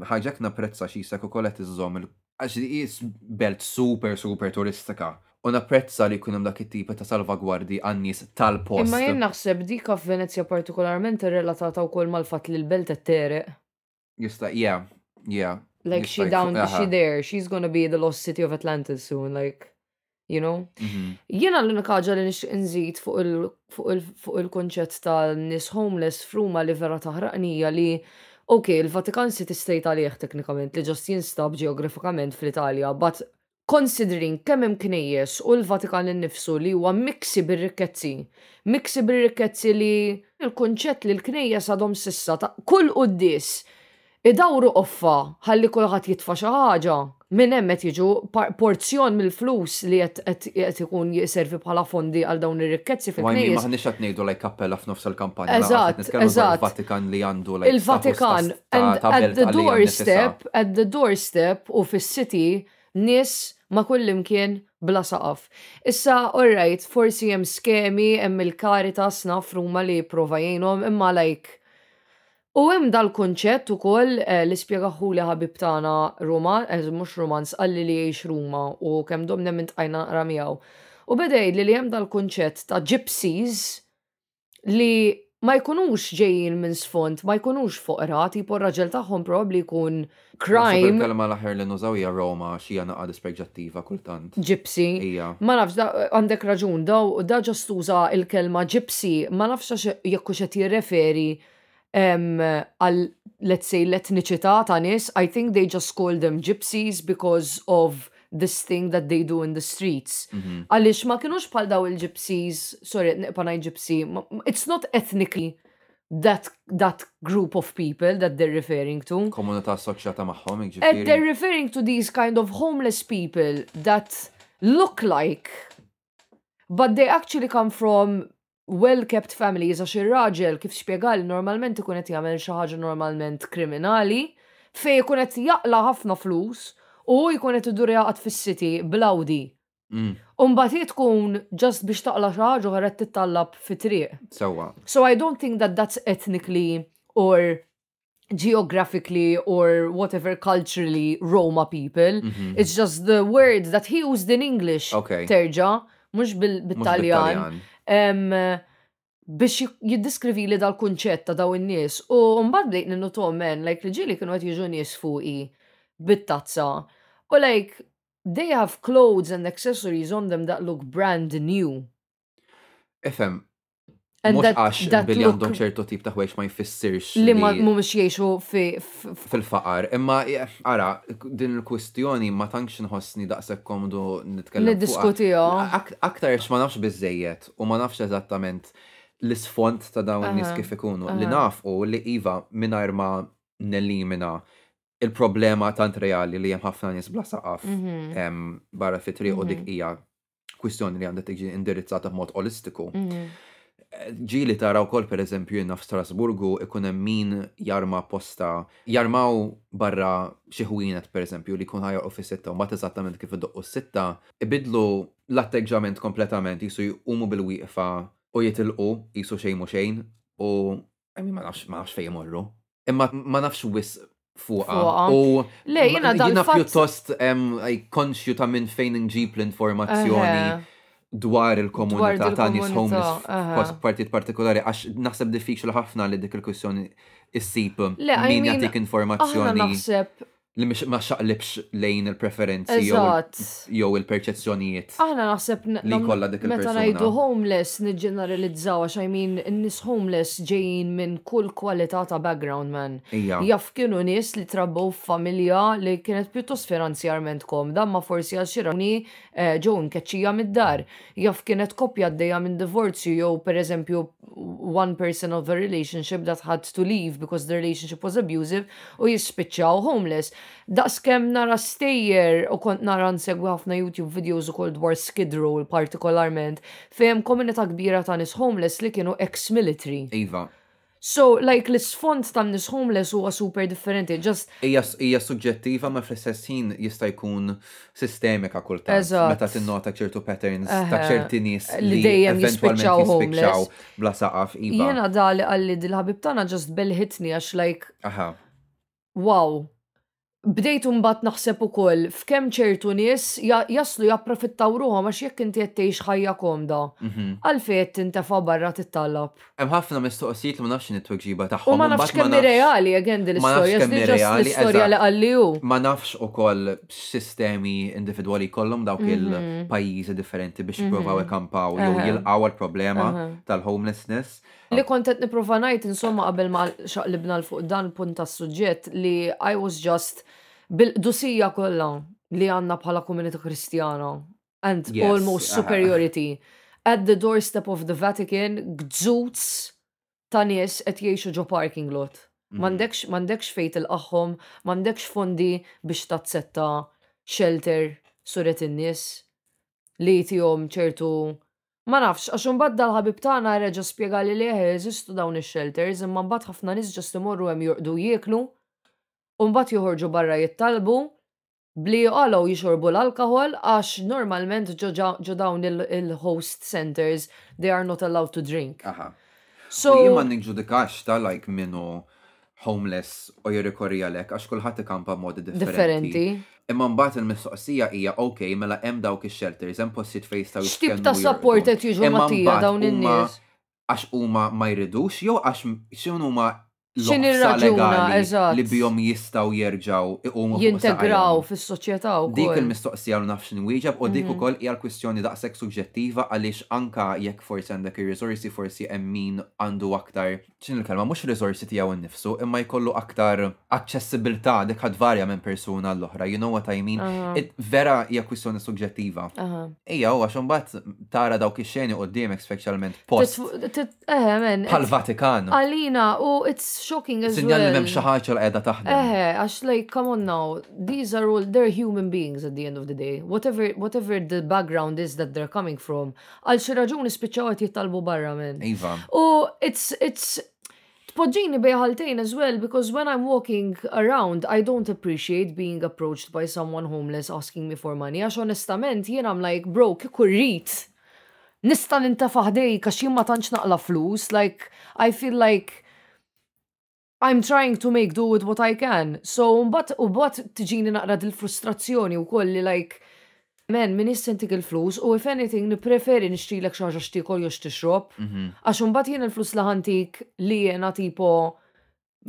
[SPEAKER 5] ħagġek naprezza xisa kukolet iż-żom il- għax li jis belt super super turistika. U napprezza li kunem dak it-tipa ta' salvagwardi għannis tal-post.
[SPEAKER 3] Imma jien naħseb dik għaf Venezia partikolarment relatata u kol mal-fat li l-belt t-tereq.
[SPEAKER 5] Jista, yeah, yeah.
[SPEAKER 3] Like
[SPEAKER 5] Jista'
[SPEAKER 3] she
[SPEAKER 5] jkun-
[SPEAKER 3] down,
[SPEAKER 5] aha.
[SPEAKER 3] she there, she's gonna be the lost city of Atlantis soon, like, you know?
[SPEAKER 5] mhm.
[SPEAKER 3] Jiena l-unika ħaġa li nix nżid fuq il- fuq il- fuq il-konċett ta' nis homeless fruma li vera taħraqnija li Ok, il-Vatikan City State għalih teknikament li ġast jinstab ġeografikament fl-Italja, but considering kemm hemm knejjes u l-Vatikan innifsu li huwa miksi bir-rikkezzi, miksi bir-rikkezzi li il-konċett li l-knejjes għadhom sissa ta' kull qudies idawru offa ħalli kulħadd jitfa' xi ħaġa. Minn hemm qed jiġu par- porzjon mill-flus li qed- qed qed ikun jiservi bħala fondi għal dawn ir-rikkezzi
[SPEAKER 5] U għajmi
[SPEAKER 3] fil-knejjes.
[SPEAKER 5] maħnix għat nejdu like kappella f'nofs il-kampanja.
[SPEAKER 3] Eżatt,
[SPEAKER 5] laqas qed nitkellmu dwar
[SPEAKER 3] eżatt.
[SPEAKER 5] Il-Vatikan li għandu like
[SPEAKER 3] il-Vatikan
[SPEAKER 5] status ta-
[SPEAKER 3] and
[SPEAKER 5] ta- ta'
[SPEAKER 3] at
[SPEAKER 5] belt
[SPEAKER 3] the
[SPEAKER 5] għalija
[SPEAKER 3] doorstep
[SPEAKER 5] nnifisha.
[SPEAKER 3] at the doorstep u fis-city nis ma kullimkien bla saqaf. Issa, all right, forsi hemm skemi, hemm il-karitas naf ruma li prova jgħinhom, imma like U hemm dal-konċett ukoll eh, li spjegaħu li ħabib tagħna Roma, eż mhux Romans, qalli li jgħix Ruma u kemm domna minn tqajna naqra miegħu. U bedej li li hemm dal-konċett ta' gypsies li ma jkunux ġejjin minn sfond, ma jkunux foqra, tipo r-raġel tagħhom probabli jkun
[SPEAKER 5] Naħseb
[SPEAKER 3] crime
[SPEAKER 5] Il-kelma l-aħħar li nużaw hija Roma xi għana għad dispreġattiva kultant.
[SPEAKER 3] gypsy.
[SPEAKER 5] Ija.
[SPEAKER 3] Ma nafx, da- għandek raġun, daw, da ġastuża il-kelma gypsy, ma nafx għax jekk xet jirreferi em, għal, let's say, l-etniċità ta' nis, I think they just call them gypsies because of this thing that they do in the streets. Għalix ma kienux pal daw il-gypsies, sorry, panaj gypsy, ma- ma- it's not ethnically that, that group of people that they're referring to.
[SPEAKER 5] Komunità assoċjata magħhom,
[SPEAKER 3] And they're
[SPEAKER 5] jiġifieri.
[SPEAKER 3] referring to these kind of homeless people that look like, but they actually come from well-kept families, għax ir-raġel kif spjegali normalment ikun qed jagħmel xi ħaġa normalment kriminali, fej ikun qed jaqla ħafna flus u jkun qed idur jaqgħod fis-siti blawdi.
[SPEAKER 5] Mm,
[SPEAKER 3] Umbagħad hi tkun ġast biex taqla xi ħaġa oħra qed tittallab fi triq.
[SPEAKER 5] Sewwa.
[SPEAKER 3] So I don't think that that's ethnically or geographically or whatever culturally Roma people.
[SPEAKER 5] Mhm.
[SPEAKER 3] It's just the word that he used in English.
[SPEAKER 5] Okay.
[SPEAKER 3] Terġa, mux
[SPEAKER 5] Mhux
[SPEAKER 3] bil-Taljan.
[SPEAKER 5] bit-Taljan.
[SPEAKER 3] biex jik- jiddiskrivi li dal-kunċett ta' daw in-nies. U mbagħad lejt ninnu men, like li ġieli kienu qed jiġu nies fuqi bit-tazza. U like they have clothes and accessories on them that look brand new.
[SPEAKER 5] Ifem,
[SPEAKER 3] And
[SPEAKER 5] mux għax
[SPEAKER 3] that
[SPEAKER 5] billi
[SPEAKER 3] look
[SPEAKER 5] għandhom ċertu tip ta' ħwejx ma jfissirx
[SPEAKER 3] li ma mhumiex jgħixu fi- fi
[SPEAKER 5] fil-faqar. Imma, eh, ara, din il-kwistjoni ma tantx nħossni daqshekk komdu nitkellem. fuqha.
[SPEAKER 3] Niddiskutija.
[SPEAKER 5] Ak- Aktar x ma nafx bizzejiet u ma nafx eżattament l-sfont ta' dawn n-nis
[SPEAKER 3] Aha,
[SPEAKER 5] kif ikunu.
[SPEAKER 3] aha.
[SPEAKER 5] Li naf u li Iva minnajr ma nellimina il-problema tant reali li jem ħafna nis bla saqaf
[SPEAKER 3] Mhm.
[SPEAKER 5] em, barra fitri u dik
[SPEAKER 3] Mhm.
[SPEAKER 5] hija kwistjoni li għandha tiġi indirizzata b'mod olistiku.
[SPEAKER 3] Mm.
[SPEAKER 5] ġili tara u kol per eżempju jenna f'Strasburgu ikun hemm min jarma posta, jarmaw barra xi ħwienet per eżempju li kun ħajor fi sitta u mat eżattament kif iddoqqu s-sitta, ibidlu l-atteġġament kompletament jisu jqumu bil-wieqfa u jitilqu jisu xejn mhu xejn u emmi ma nafx ma nafx fejn imorru. Imma ma nafx wis fuqa.
[SPEAKER 3] Fuqa.
[SPEAKER 5] U
[SPEAKER 3] Le, jiena dal-fatt-
[SPEAKER 5] pjuttost em, aj, konxju ta' minn fejn nġib l-informazzjoni dwar il-komunità ta' nis
[SPEAKER 3] il-komunità,
[SPEAKER 5] homeless
[SPEAKER 3] aha.
[SPEAKER 5] fost partit partikolari, għax naħseb diffiċli ħafna li dik il-kwissjoni issib
[SPEAKER 3] Le, I
[SPEAKER 5] min
[SPEAKER 3] mean,
[SPEAKER 5] jagħtik
[SPEAKER 3] Aħna
[SPEAKER 5] informazzjoni
[SPEAKER 3] naħseb,
[SPEAKER 5] li mhix- ma xaqlibx lejn il-preferenzi jew il-
[SPEAKER 3] eżat.
[SPEAKER 5] jew il-perċezzjonijiet.
[SPEAKER 3] Aħna naħseb n-
[SPEAKER 5] Li
[SPEAKER 3] nam-
[SPEAKER 5] kollha dik
[SPEAKER 3] Meta
[SPEAKER 5] il-persuna.
[SPEAKER 3] ngħidu homeless niġġeneralizzaw għax I mean in-nies homeless ġejjin minn kull kwalità ta' background man.
[SPEAKER 5] Ija.
[SPEAKER 3] Jaf kienu nies li trabbew f'familja li kienet pjuttost finanzjarment komda, ma forsi għal xi raġuni eh, ġew nkeċċija mid-dar. Jaf kienet koppja għaddejja minn divorzju jew pereżempju one person of a relationship that had to leave because the relationship was abusive u jispiċċaw homeless. Daqskem nara stejjer u kont nara nsegwi ħafna YouTube videos ukoll dwar Skid Row partikolarment fejn komunità kbira ta' nis homeless li kienu ex-military.
[SPEAKER 5] Iva,
[SPEAKER 3] So, like, l-sfond ta' nis homeless huwa super differenti, just
[SPEAKER 5] hija hija suġġettiva ma fl-istess ħin jista' jkun sistemika kultant.
[SPEAKER 3] Eżatt.
[SPEAKER 5] Meta tinnota ċertu patterns ta'
[SPEAKER 3] Ehe.
[SPEAKER 5] ċerti nies
[SPEAKER 3] Li dejjem
[SPEAKER 5] eventualment
[SPEAKER 3] jispiċċaw homeless.
[SPEAKER 5] bla saqaf iva.
[SPEAKER 3] jena da li għalli dil-ħabib tana just belħitni għax like,
[SPEAKER 5] Aha.
[SPEAKER 3] wow, bdejt mbagħad naħseb ukoll f'kemm ċertu nies ja- jaslu japprofittaw ruħhom għax jekk inti qed tgħix ħajja komda.
[SPEAKER 5] Mhm.
[SPEAKER 3] Għalfej qed tintefa' barra tittallab.
[SPEAKER 5] Hemm ħafna mistoqsijiet li ma nafx nitweġiba tagħhom.
[SPEAKER 3] U ma
[SPEAKER 5] imbagħad
[SPEAKER 3] nafx kemm hi reali again din
[SPEAKER 5] ma nafx
[SPEAKER 3] l-istorja,
[SPEAKER 5] kemm hi
[SPEAKER 3] it's just
[SPEAKER 5] reali,
[SPEAKER 3] l-istorja li
[SPEAKER 5] eżatt.
[SPEAKER 3] qalli hu.
[SPEAKER 5] Ma nafx u koll sistemi individuali kollum dawk
[SPEAKER 3] Mhm.
[SPEAKER 5] il-pajizi differenti biex provaw ikampaw jew
[SPEAKER 3] Aha.
[SPEAKER 5] jilqaw għal-problema
[SPEAKER 3] Aha.
[SPEAKER 5] tal-homelessness.
[SPEAKER 3] Li kontent niprofa najt insomma qabel ma xaqlibna l-fuq dan punt tas suġġett li I was just bil-dusija kollha li għandna bħala komunità kristjana and
[SPEAKER 5] Yes,
[SPEAKER 3] almost
[SPEAKER 5] aha.
[SPEAKER 3] superiority at the doorstep of the Vatican gżuts ta' nies qed jgħixu ġo parking lot.
[SPEAKER 5] Mhm.
[SPEAKER 3] M'għandekx m'għandekx fejt il-qaħħom, m'għandekx fondi biex tazzetta shelter suret in-nies li jtijom ċertu Ma nafx, għax imbagħad dal-ħabib tagħna reġa' spjega li leħ jeżistu dawn ix-shelters, imma mbagħad ħafna nies ġest imorru hemm jorqdu jieklu, u mbagħad joħorġu barra jittalbu bli joqalgħu jixorbu l-alkohol għax normalment ġo ġa- ġo dawn il- il-host centers they are not allowed to drink.
[SPEAKER 5] Aha.
[SPEAKER 3] So,
[SPEAKER 5] U jien Ah, ma nġudikax ta' like minnu homeless u jirrikorri għalek għax kulħadd ikampa modi differenti.
[SPEAKER 3] differenti.
[SPEAKER 5] Imma mbagħad il-mistoqsija hija ok, mela hemm dawk ix-shelters, hemm postijiet fejn jistgħu
[SPEAKER 3] X'tip
[SPEAKER 5] jitkellmu
[SPEAKER 3] ta'
[SPEAKER 5] u
[SPEAKER 3] support
[SPEAKER 5] jorqdu.
[SPEAKER 3] qed jiġu
[SPEAKER 5] Imma
[SPEAKER 3] magħtija
[SPEAKER 5] mbagħad
[SPEAKER 3] dawn
[SPEAKER 5] huma
[SPEAKER 3] in-nies?
[SPEAKER 5] Għax huma ma jridux jew għax x'in huma
[SPEAKER 3] X'inhi
[SPEAKER 5] l-oqsa
[SPEAKER 3] r-raġuna,
[SPEAKER 5] legali
[SPEAKER 3] eżatt.
[SPEAKER 5] li bihom jistgħu jerġgħu iqumu fuq
[SPEAKER 3] Jintegraw
[SPEAKER 5] saqajhom.
[SPEAKER 3] fis-soċjetà
[SPEAKER 5] Dik
[SPEAKER 3] wkoll.
[SPEAKER 5] il-mistoqsija li nafx nwieġeb u
[SPEAKER 3] Mhm.
[SPEAKER 5] dik ukoll hija l-kwistjoni daqshekk suġġettiva għaliex anka jekk forsi għandek ir-risorsi forsi hemm min għandu aktar x'in il-kelma mhux risorsi tiegħu innifsu imma jkollu aktar aċċessibilità dik ħad varja minn persuna l-oħra. You know what I mean?
[SPEAKER 3] Aha.
[SPEAKER 5] It- Vera hija kwistjoni suġġettiva.
[SPEAKER 3] Aha.
[SPEAKER 5] Ejja, u għax mbagħad tara dawk ix-xeni qudiemek speċjalment post
[SPEAKER 3] Titf- tit- Eh, men.
[SPEAKER 5] bħal-Vatikan.
[SPEAKER 3] Alina, u it's shocking as
[SPEAKER 5] Sinjal li
[SPEAKER 3] well.
[SPEAKER 5] m'hemm xi ħaġa li qiegħda taħdem.
[SPEAKER 3] Eh, għax like, come on now, these are all, they're human beings at the end of the day. Whatever, whatever the background is that they're coming from, għal xi raġuni spiċċaw qed jittalbu barra minn.
[SPEAKER 5] Iva.
[SPEAKER 3] U it's, it's, tpoġġini bejħaltejn as well, because when I'm walking around, I don't appreciate being approached by someone homeless asking me for money, għax onestament, jien I'm like, bro, kieku rrit. Nista nintafaħ dej, għax jien ma tantx naqla flus, like, I feel like, I'm trying to make do with what I can. So, mbatt, u bat tġini naqra dil-frustrazzjoni u kolli, like, man, min jissentik il-flus, u if anything, nipreferi nixtilek xaġa xtikol jox tixrob.
[SPEAKER 5] Mhm.
[SPEAKER 3] Għax mbatt jien il-flus laħantik li jena tipo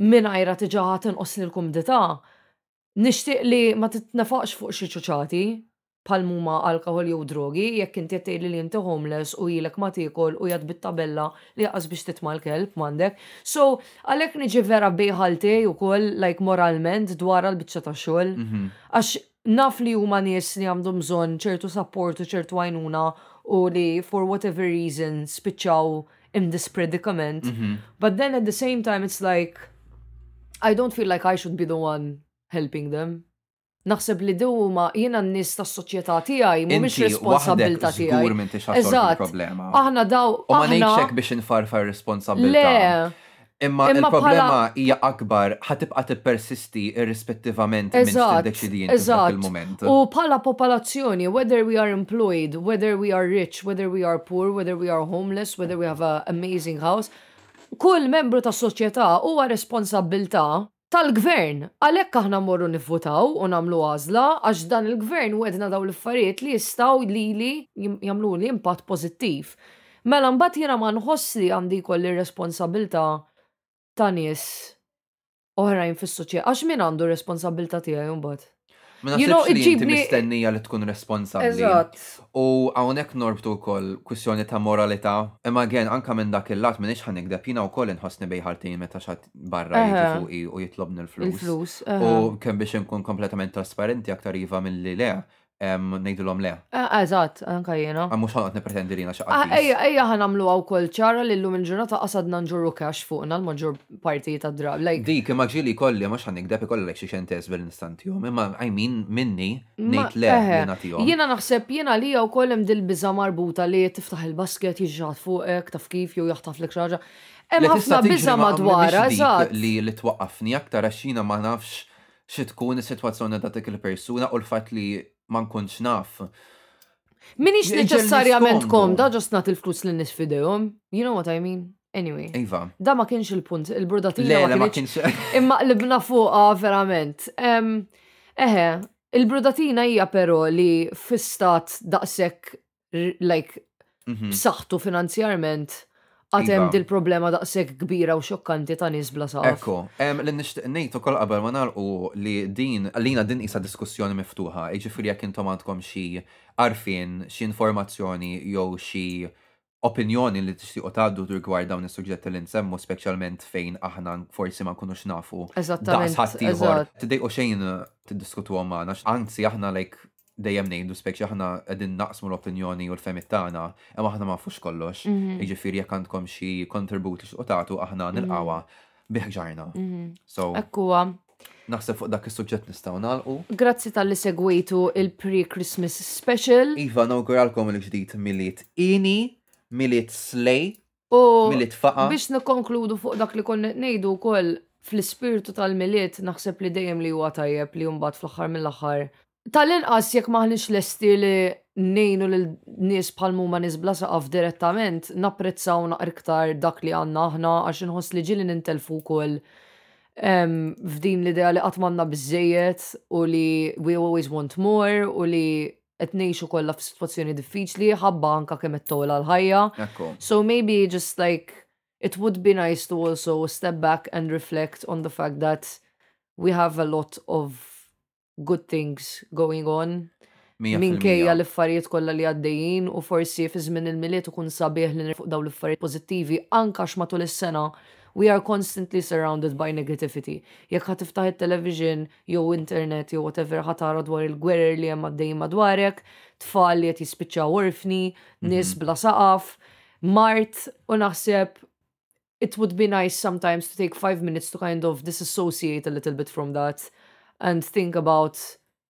[SPEAKER 3] minn għajra tiġaħat nqos l-kumdita. Nishtiq li ma titnafaqx fuq xi ċuċati palmuma alkohol jew drogi, jekk inti qed tgħidli li inti homeless u jilek ma tikol u jgħad bit-tabella li jaqas biex titma' l-kelb m'għandek. So, għalhekk niġi vera bejħaltej ukoll like moralment dwar l-biċċa ta' xogħol.
[SPEAKER 5] Mhm.
[SPEAKER 3] Għax naf li huma nies li għandhom bżonn ċertu support u ċertu għajnuna u li for whatever reason spiċċaw in this predicament.
[SPEAKER 5] Mhm.
[SPEAKER 3] But then at the same time it's like I don't feel like I should be the one helping them. Naħseb li dew ma jiena n-nies tas-soċjetà tiegħi mhumiex
[SPEAKER 5] Inti waħdek
[SPEAKER 3] responsabilità tiegħi.
[SPEAKER 5] żgur minn tixħassol
[SPEAKER 3] Eżatt.
[SPEAKER 5] il-problema.
[SPEAKER 3] Aħna daw
[SPEAKER 5] U ma
[SPEAKER 3] aħna
[SPEAKER 5] nejċek biex infarfar responsabilta.
[SPEAKER 3] le.
[SPEAKER 5] Imma
[SPEAKER 3] Imma
[SPEAKER 5] il-problema
[SPEAKER 3] bħala-
[SPEAKER 5] hija akbar ħatibqa tippersisti irrispettivament minn
[SPEAKER 3] Eżatt,
[SPEAKER 5] x'tiddeċidi inti f'dak
[SPEAKER 3] eżatt.
[SPEAKER 5] il-moment.
[SPEAKER 3] U pala popolazzjoni, whether we are employed, whether we are rich, whether we are poor, whether we are homeless, whether we have an amazing house, kull membru ta' soċjetà huwa responsabilta tal-gvern. Għalhekk aħna morru nivvutaw u nagħmlu għażla għax dan il-gvern wedna daw l-affarijiet li jistgħu lili jim- jagħmlu li impatt pożittiv. Mela mbagħad jiena ma nħoss li għandi kolli responsabilta ta' nies oħrajn fis-soċjetà. Għax min għandu responsabilta tiegħi mbagħad?
[SPEAKER 5] Ma
[SPEAKER 3] you know,
[SPEAKER 5] naħsibx li inti
[SPEAKER 3] iġibni-
[SPEAKER 5] mistennija li tkun responsabbli. U hawnhekk norbtu wkoll kwistjoni ta' moralità. Imma again anka minn dak il-lat minn ixħan nikdeb jiena wkoll inħossni bej ħaltin meta xatt barra jiġi
[SPEAKER 3] Eħe.
[SPEAKER 5] fuqi u jitlobni l-flus.
[SPEAKER 3] Il-flus. aha.
[SPEAKER 5] U kemm biex inkun kompletament trasparenti aktar iva mill-li le, nejdilom le.
[SPEAKER 3] Eh, Eżatt, anka jiena.
[SPEAKER 5] Għam mux ħanqot nipretendi li naxa
[SPEAKER 3] Ah, Ejja, ejja ħanamlu għaw kol ċara li l-lum il-ġurnata qasadna nġurru kax fuqna l-maġġor partijiet ta' drab. Like,
[SPEAKER 5] Dik, imma ġili kolli, mux ħan nikdeb kolli xie xentes bil-instanti jom, imma I mean, minni,
[SPEAKER 3] ma-
[SPEAKER 5] nejt le,
[SPEAKER 3] eħe,
[SPEAKER 5] jena tijom.
[SPEAKER 3] Jiena naħseb jiena li għaw kollim dil-biza marbuta li tiftaħ il-basket jiġġat fuqek, taf kif, jew jaħtaf l xaġa. Hemm ħafna biza madwara, eżatt.
[SPEAKER 5] Li li twaqqafni aktar għax jiena ma nafx xi tkun is-sitwazzjoni ta' dik il-persuna u l-fatt li ma nkunx naf.
[SPEAKER 3] Minix
[SPEAKER 5] Ġel
[SPEAKER 3] neċessarjament
[SPEAKER 5] niskomdu.
[SPEAKER 3] komda, ġast nat il-flus li nisfidejom. You know what I mean? Anyway.
[SPEAKER 5] Iva.
[SPEAKER 3] Da ma kienx il-punt, il-brudatina
[SPEAKER 5] Le, le,
[SPEAKER 3] ma
[SPEAKER 5] ma
[SPEAKER 3] kienx.
[SPEAKER 5] kienx.
[SPEAKER 3] Imma qlibna fuqa verament. Em, Eħe, il-brudatina hija però li fistat daqsek r- like
[SPEAKER 5] Mhm.
[SPEAKER 3] b'saħħtu finanzjarment għatem
[SPEAKER 5] Iva.
[SPEAKER 3] dil-problema daqsek kbira u xokkanti ta' nies bla saqaf.
[SPEAKER 5] Ekko, em, li nishtiq nejtu kol qabel ma narqu li din, għalina din isa diskussjoni miftuħa, iġifiri jek intom għandkom xi arfin, xi informazzjoni jew xi opinjoni li tixtiqu tgħaddu rigward dawn is-suġġetti li nsemmu speċjalment fejn aħna forsi ma nkunux nafu.
[SPEAKER 3] Eżattament,
[SPEAKER 5] Daqsħat ieħor.
[SPEAKER 3] eżatt.
[SPEAKER 5] Tidejqu xejn tiddiskutu għom magħna, anzi aħna like dejjem ngħidu speċi aħna qegħdin naqsmu l-opinjoni u l-femit tagħna, imma aħna ma nafux kollox.
[SPEAKER 3] Mhm.
[SPEAKER 5] Jiġifieri jekk għandkom xi kontribut li xqotatu aħna nilqawha biħġarna.
[SPEAKER 3] Mhm.
[SPEAKER 5] So
[SPEAKER 3] Ekkuwa.
[SPEAKER 5] naħseb fuq dak is-suġġett nistgħu nagħlqu.
[SPEAKER 3] Grazzi tal-li segwejtu il-pre-Christmas special.
[SPEAKER 5] Iva nawguralkom il-ġdid miliet ini, miliet slej,
[SPEAKER 3] U
[SPEAKER 5] miliet faqa.
[SPEAKER 3] biex nikonkludu fuq dak li konna nejdu kol fl-spiritu tal-miliet naħseb li dejjem li huwa tajjeb li jumbat fl-aħħar mill-aħħar. Tal-inqas jekk maħniex lesti li nejnu lil nies bħal muma nies bla saqaf direttament, napprezzaw naqra iktar dak li għandna aħna għax inħoss li ġili nintelfu wkoll em, f'din l-idea li qatt m'għandna biżejjed u li we always want more u li qed ngħixu kollha f'sitwazzjoni diffiċli ħabba anka kemm qed tola l-ħajja.
[SPEAKER 5] Ekku.
[SPEAKER 3] So maybe just like it would be nice to also step back and reflect on the fact that we have a lot of good things going on.
[SPEAKER 5] mija
[SPEAKER 3] Min
[SPEAKER 5] fil-mija.
[SPEAKER 3] kejja l-affarijiet kollha li għaddejjin u forsi fi żmien il-miliet ikun sabiħ li nirfuq daw l-affarijiet pożittivi anke għax matul is-sena we are constantly surrounded by negativity. Jekk ħad tiftaħ it-television jew internet jew whatever ħad tara dwar il-gwerer li hemm għaddejjin madwarek, tfal li qed jispiċċaw orfni, nies bla saqaf, mart u naħseb it would be nice sometimes to take five minutes to kind of disassociate a little bit from that and think about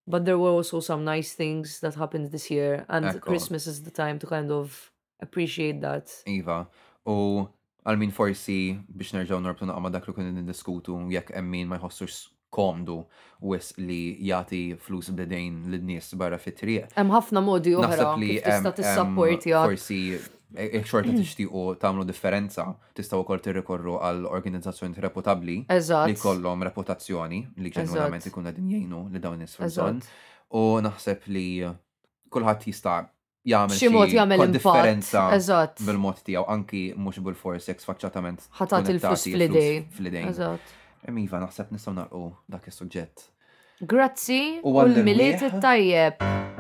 [SPEAKER 3] but there were also some nice things that happened this year and
[SPEAKER 5] Ekko.
[SPEAKER 3] Christmas is the time to kind of appreciate that.
[SPEAKER 5] Iva, u għalmin forsi biex nerġaw norbtu naqma dak li kun nindiskutu jekk emmin ma jħossux komdu wis li jati flus b'dejn l-nies barra fit-triq.
[SPEAKER 3] Hemm ħafna modi oħra
[SPEAKER 5] Naħseb li
[SPEAKER 3] kif tista' Mm.
[SPEAKER 5] em-
[SPEAKER 3] tissapportja.
[SPEAKER 5] em, Forsi jekk xorta tixtiequ tagħmlu differenza, tistgħu wkoll tirrikorru għal organizzazzjoni reputabbli
[SPEAKER 3] Eżatt.
[SPEAKER 5] li kollhom reputazzjoni li ġenwinament
[SPEAKER 3] Eżatt.
[SPEAKER 5] ikun qegħdin jgħinu li dawn nies fil-bżonn.
[SPEAKER 3] Eżatt.
[SPEAKER 5] U naħseb li kulħadd jista' jagħmel
[SPEAKER 3] Xi mod jagħmel
[SPEAKER 5] kont
[SPEAKER 3] impatt,
[SPEAKER 5] differenza
[SPEAKER 3] eżatt.
[SPEAKER 5] bil-mod tiegħu anki mhux bil-fors jekk sfaċċatament
[SPEAKER 3] Ħatat il-flus
[SPEAKER 5] konnettati
[SPEAKER 3] fl-idej.
[SPEAKER 5] fl-idejn.
[SPEAKER 3] Eżatt.
[SPEAKER 5] Em, Iva, naħseb nistgħu narqu dak is-suġġett.
[SPEAKER 3] Grazzi
[SPEAKER 5] U
[SPEAKER 3] u
[SPEAKER 5] għall-irwieħ.
[SPEAKER 3] l-miliet it-tajjeb.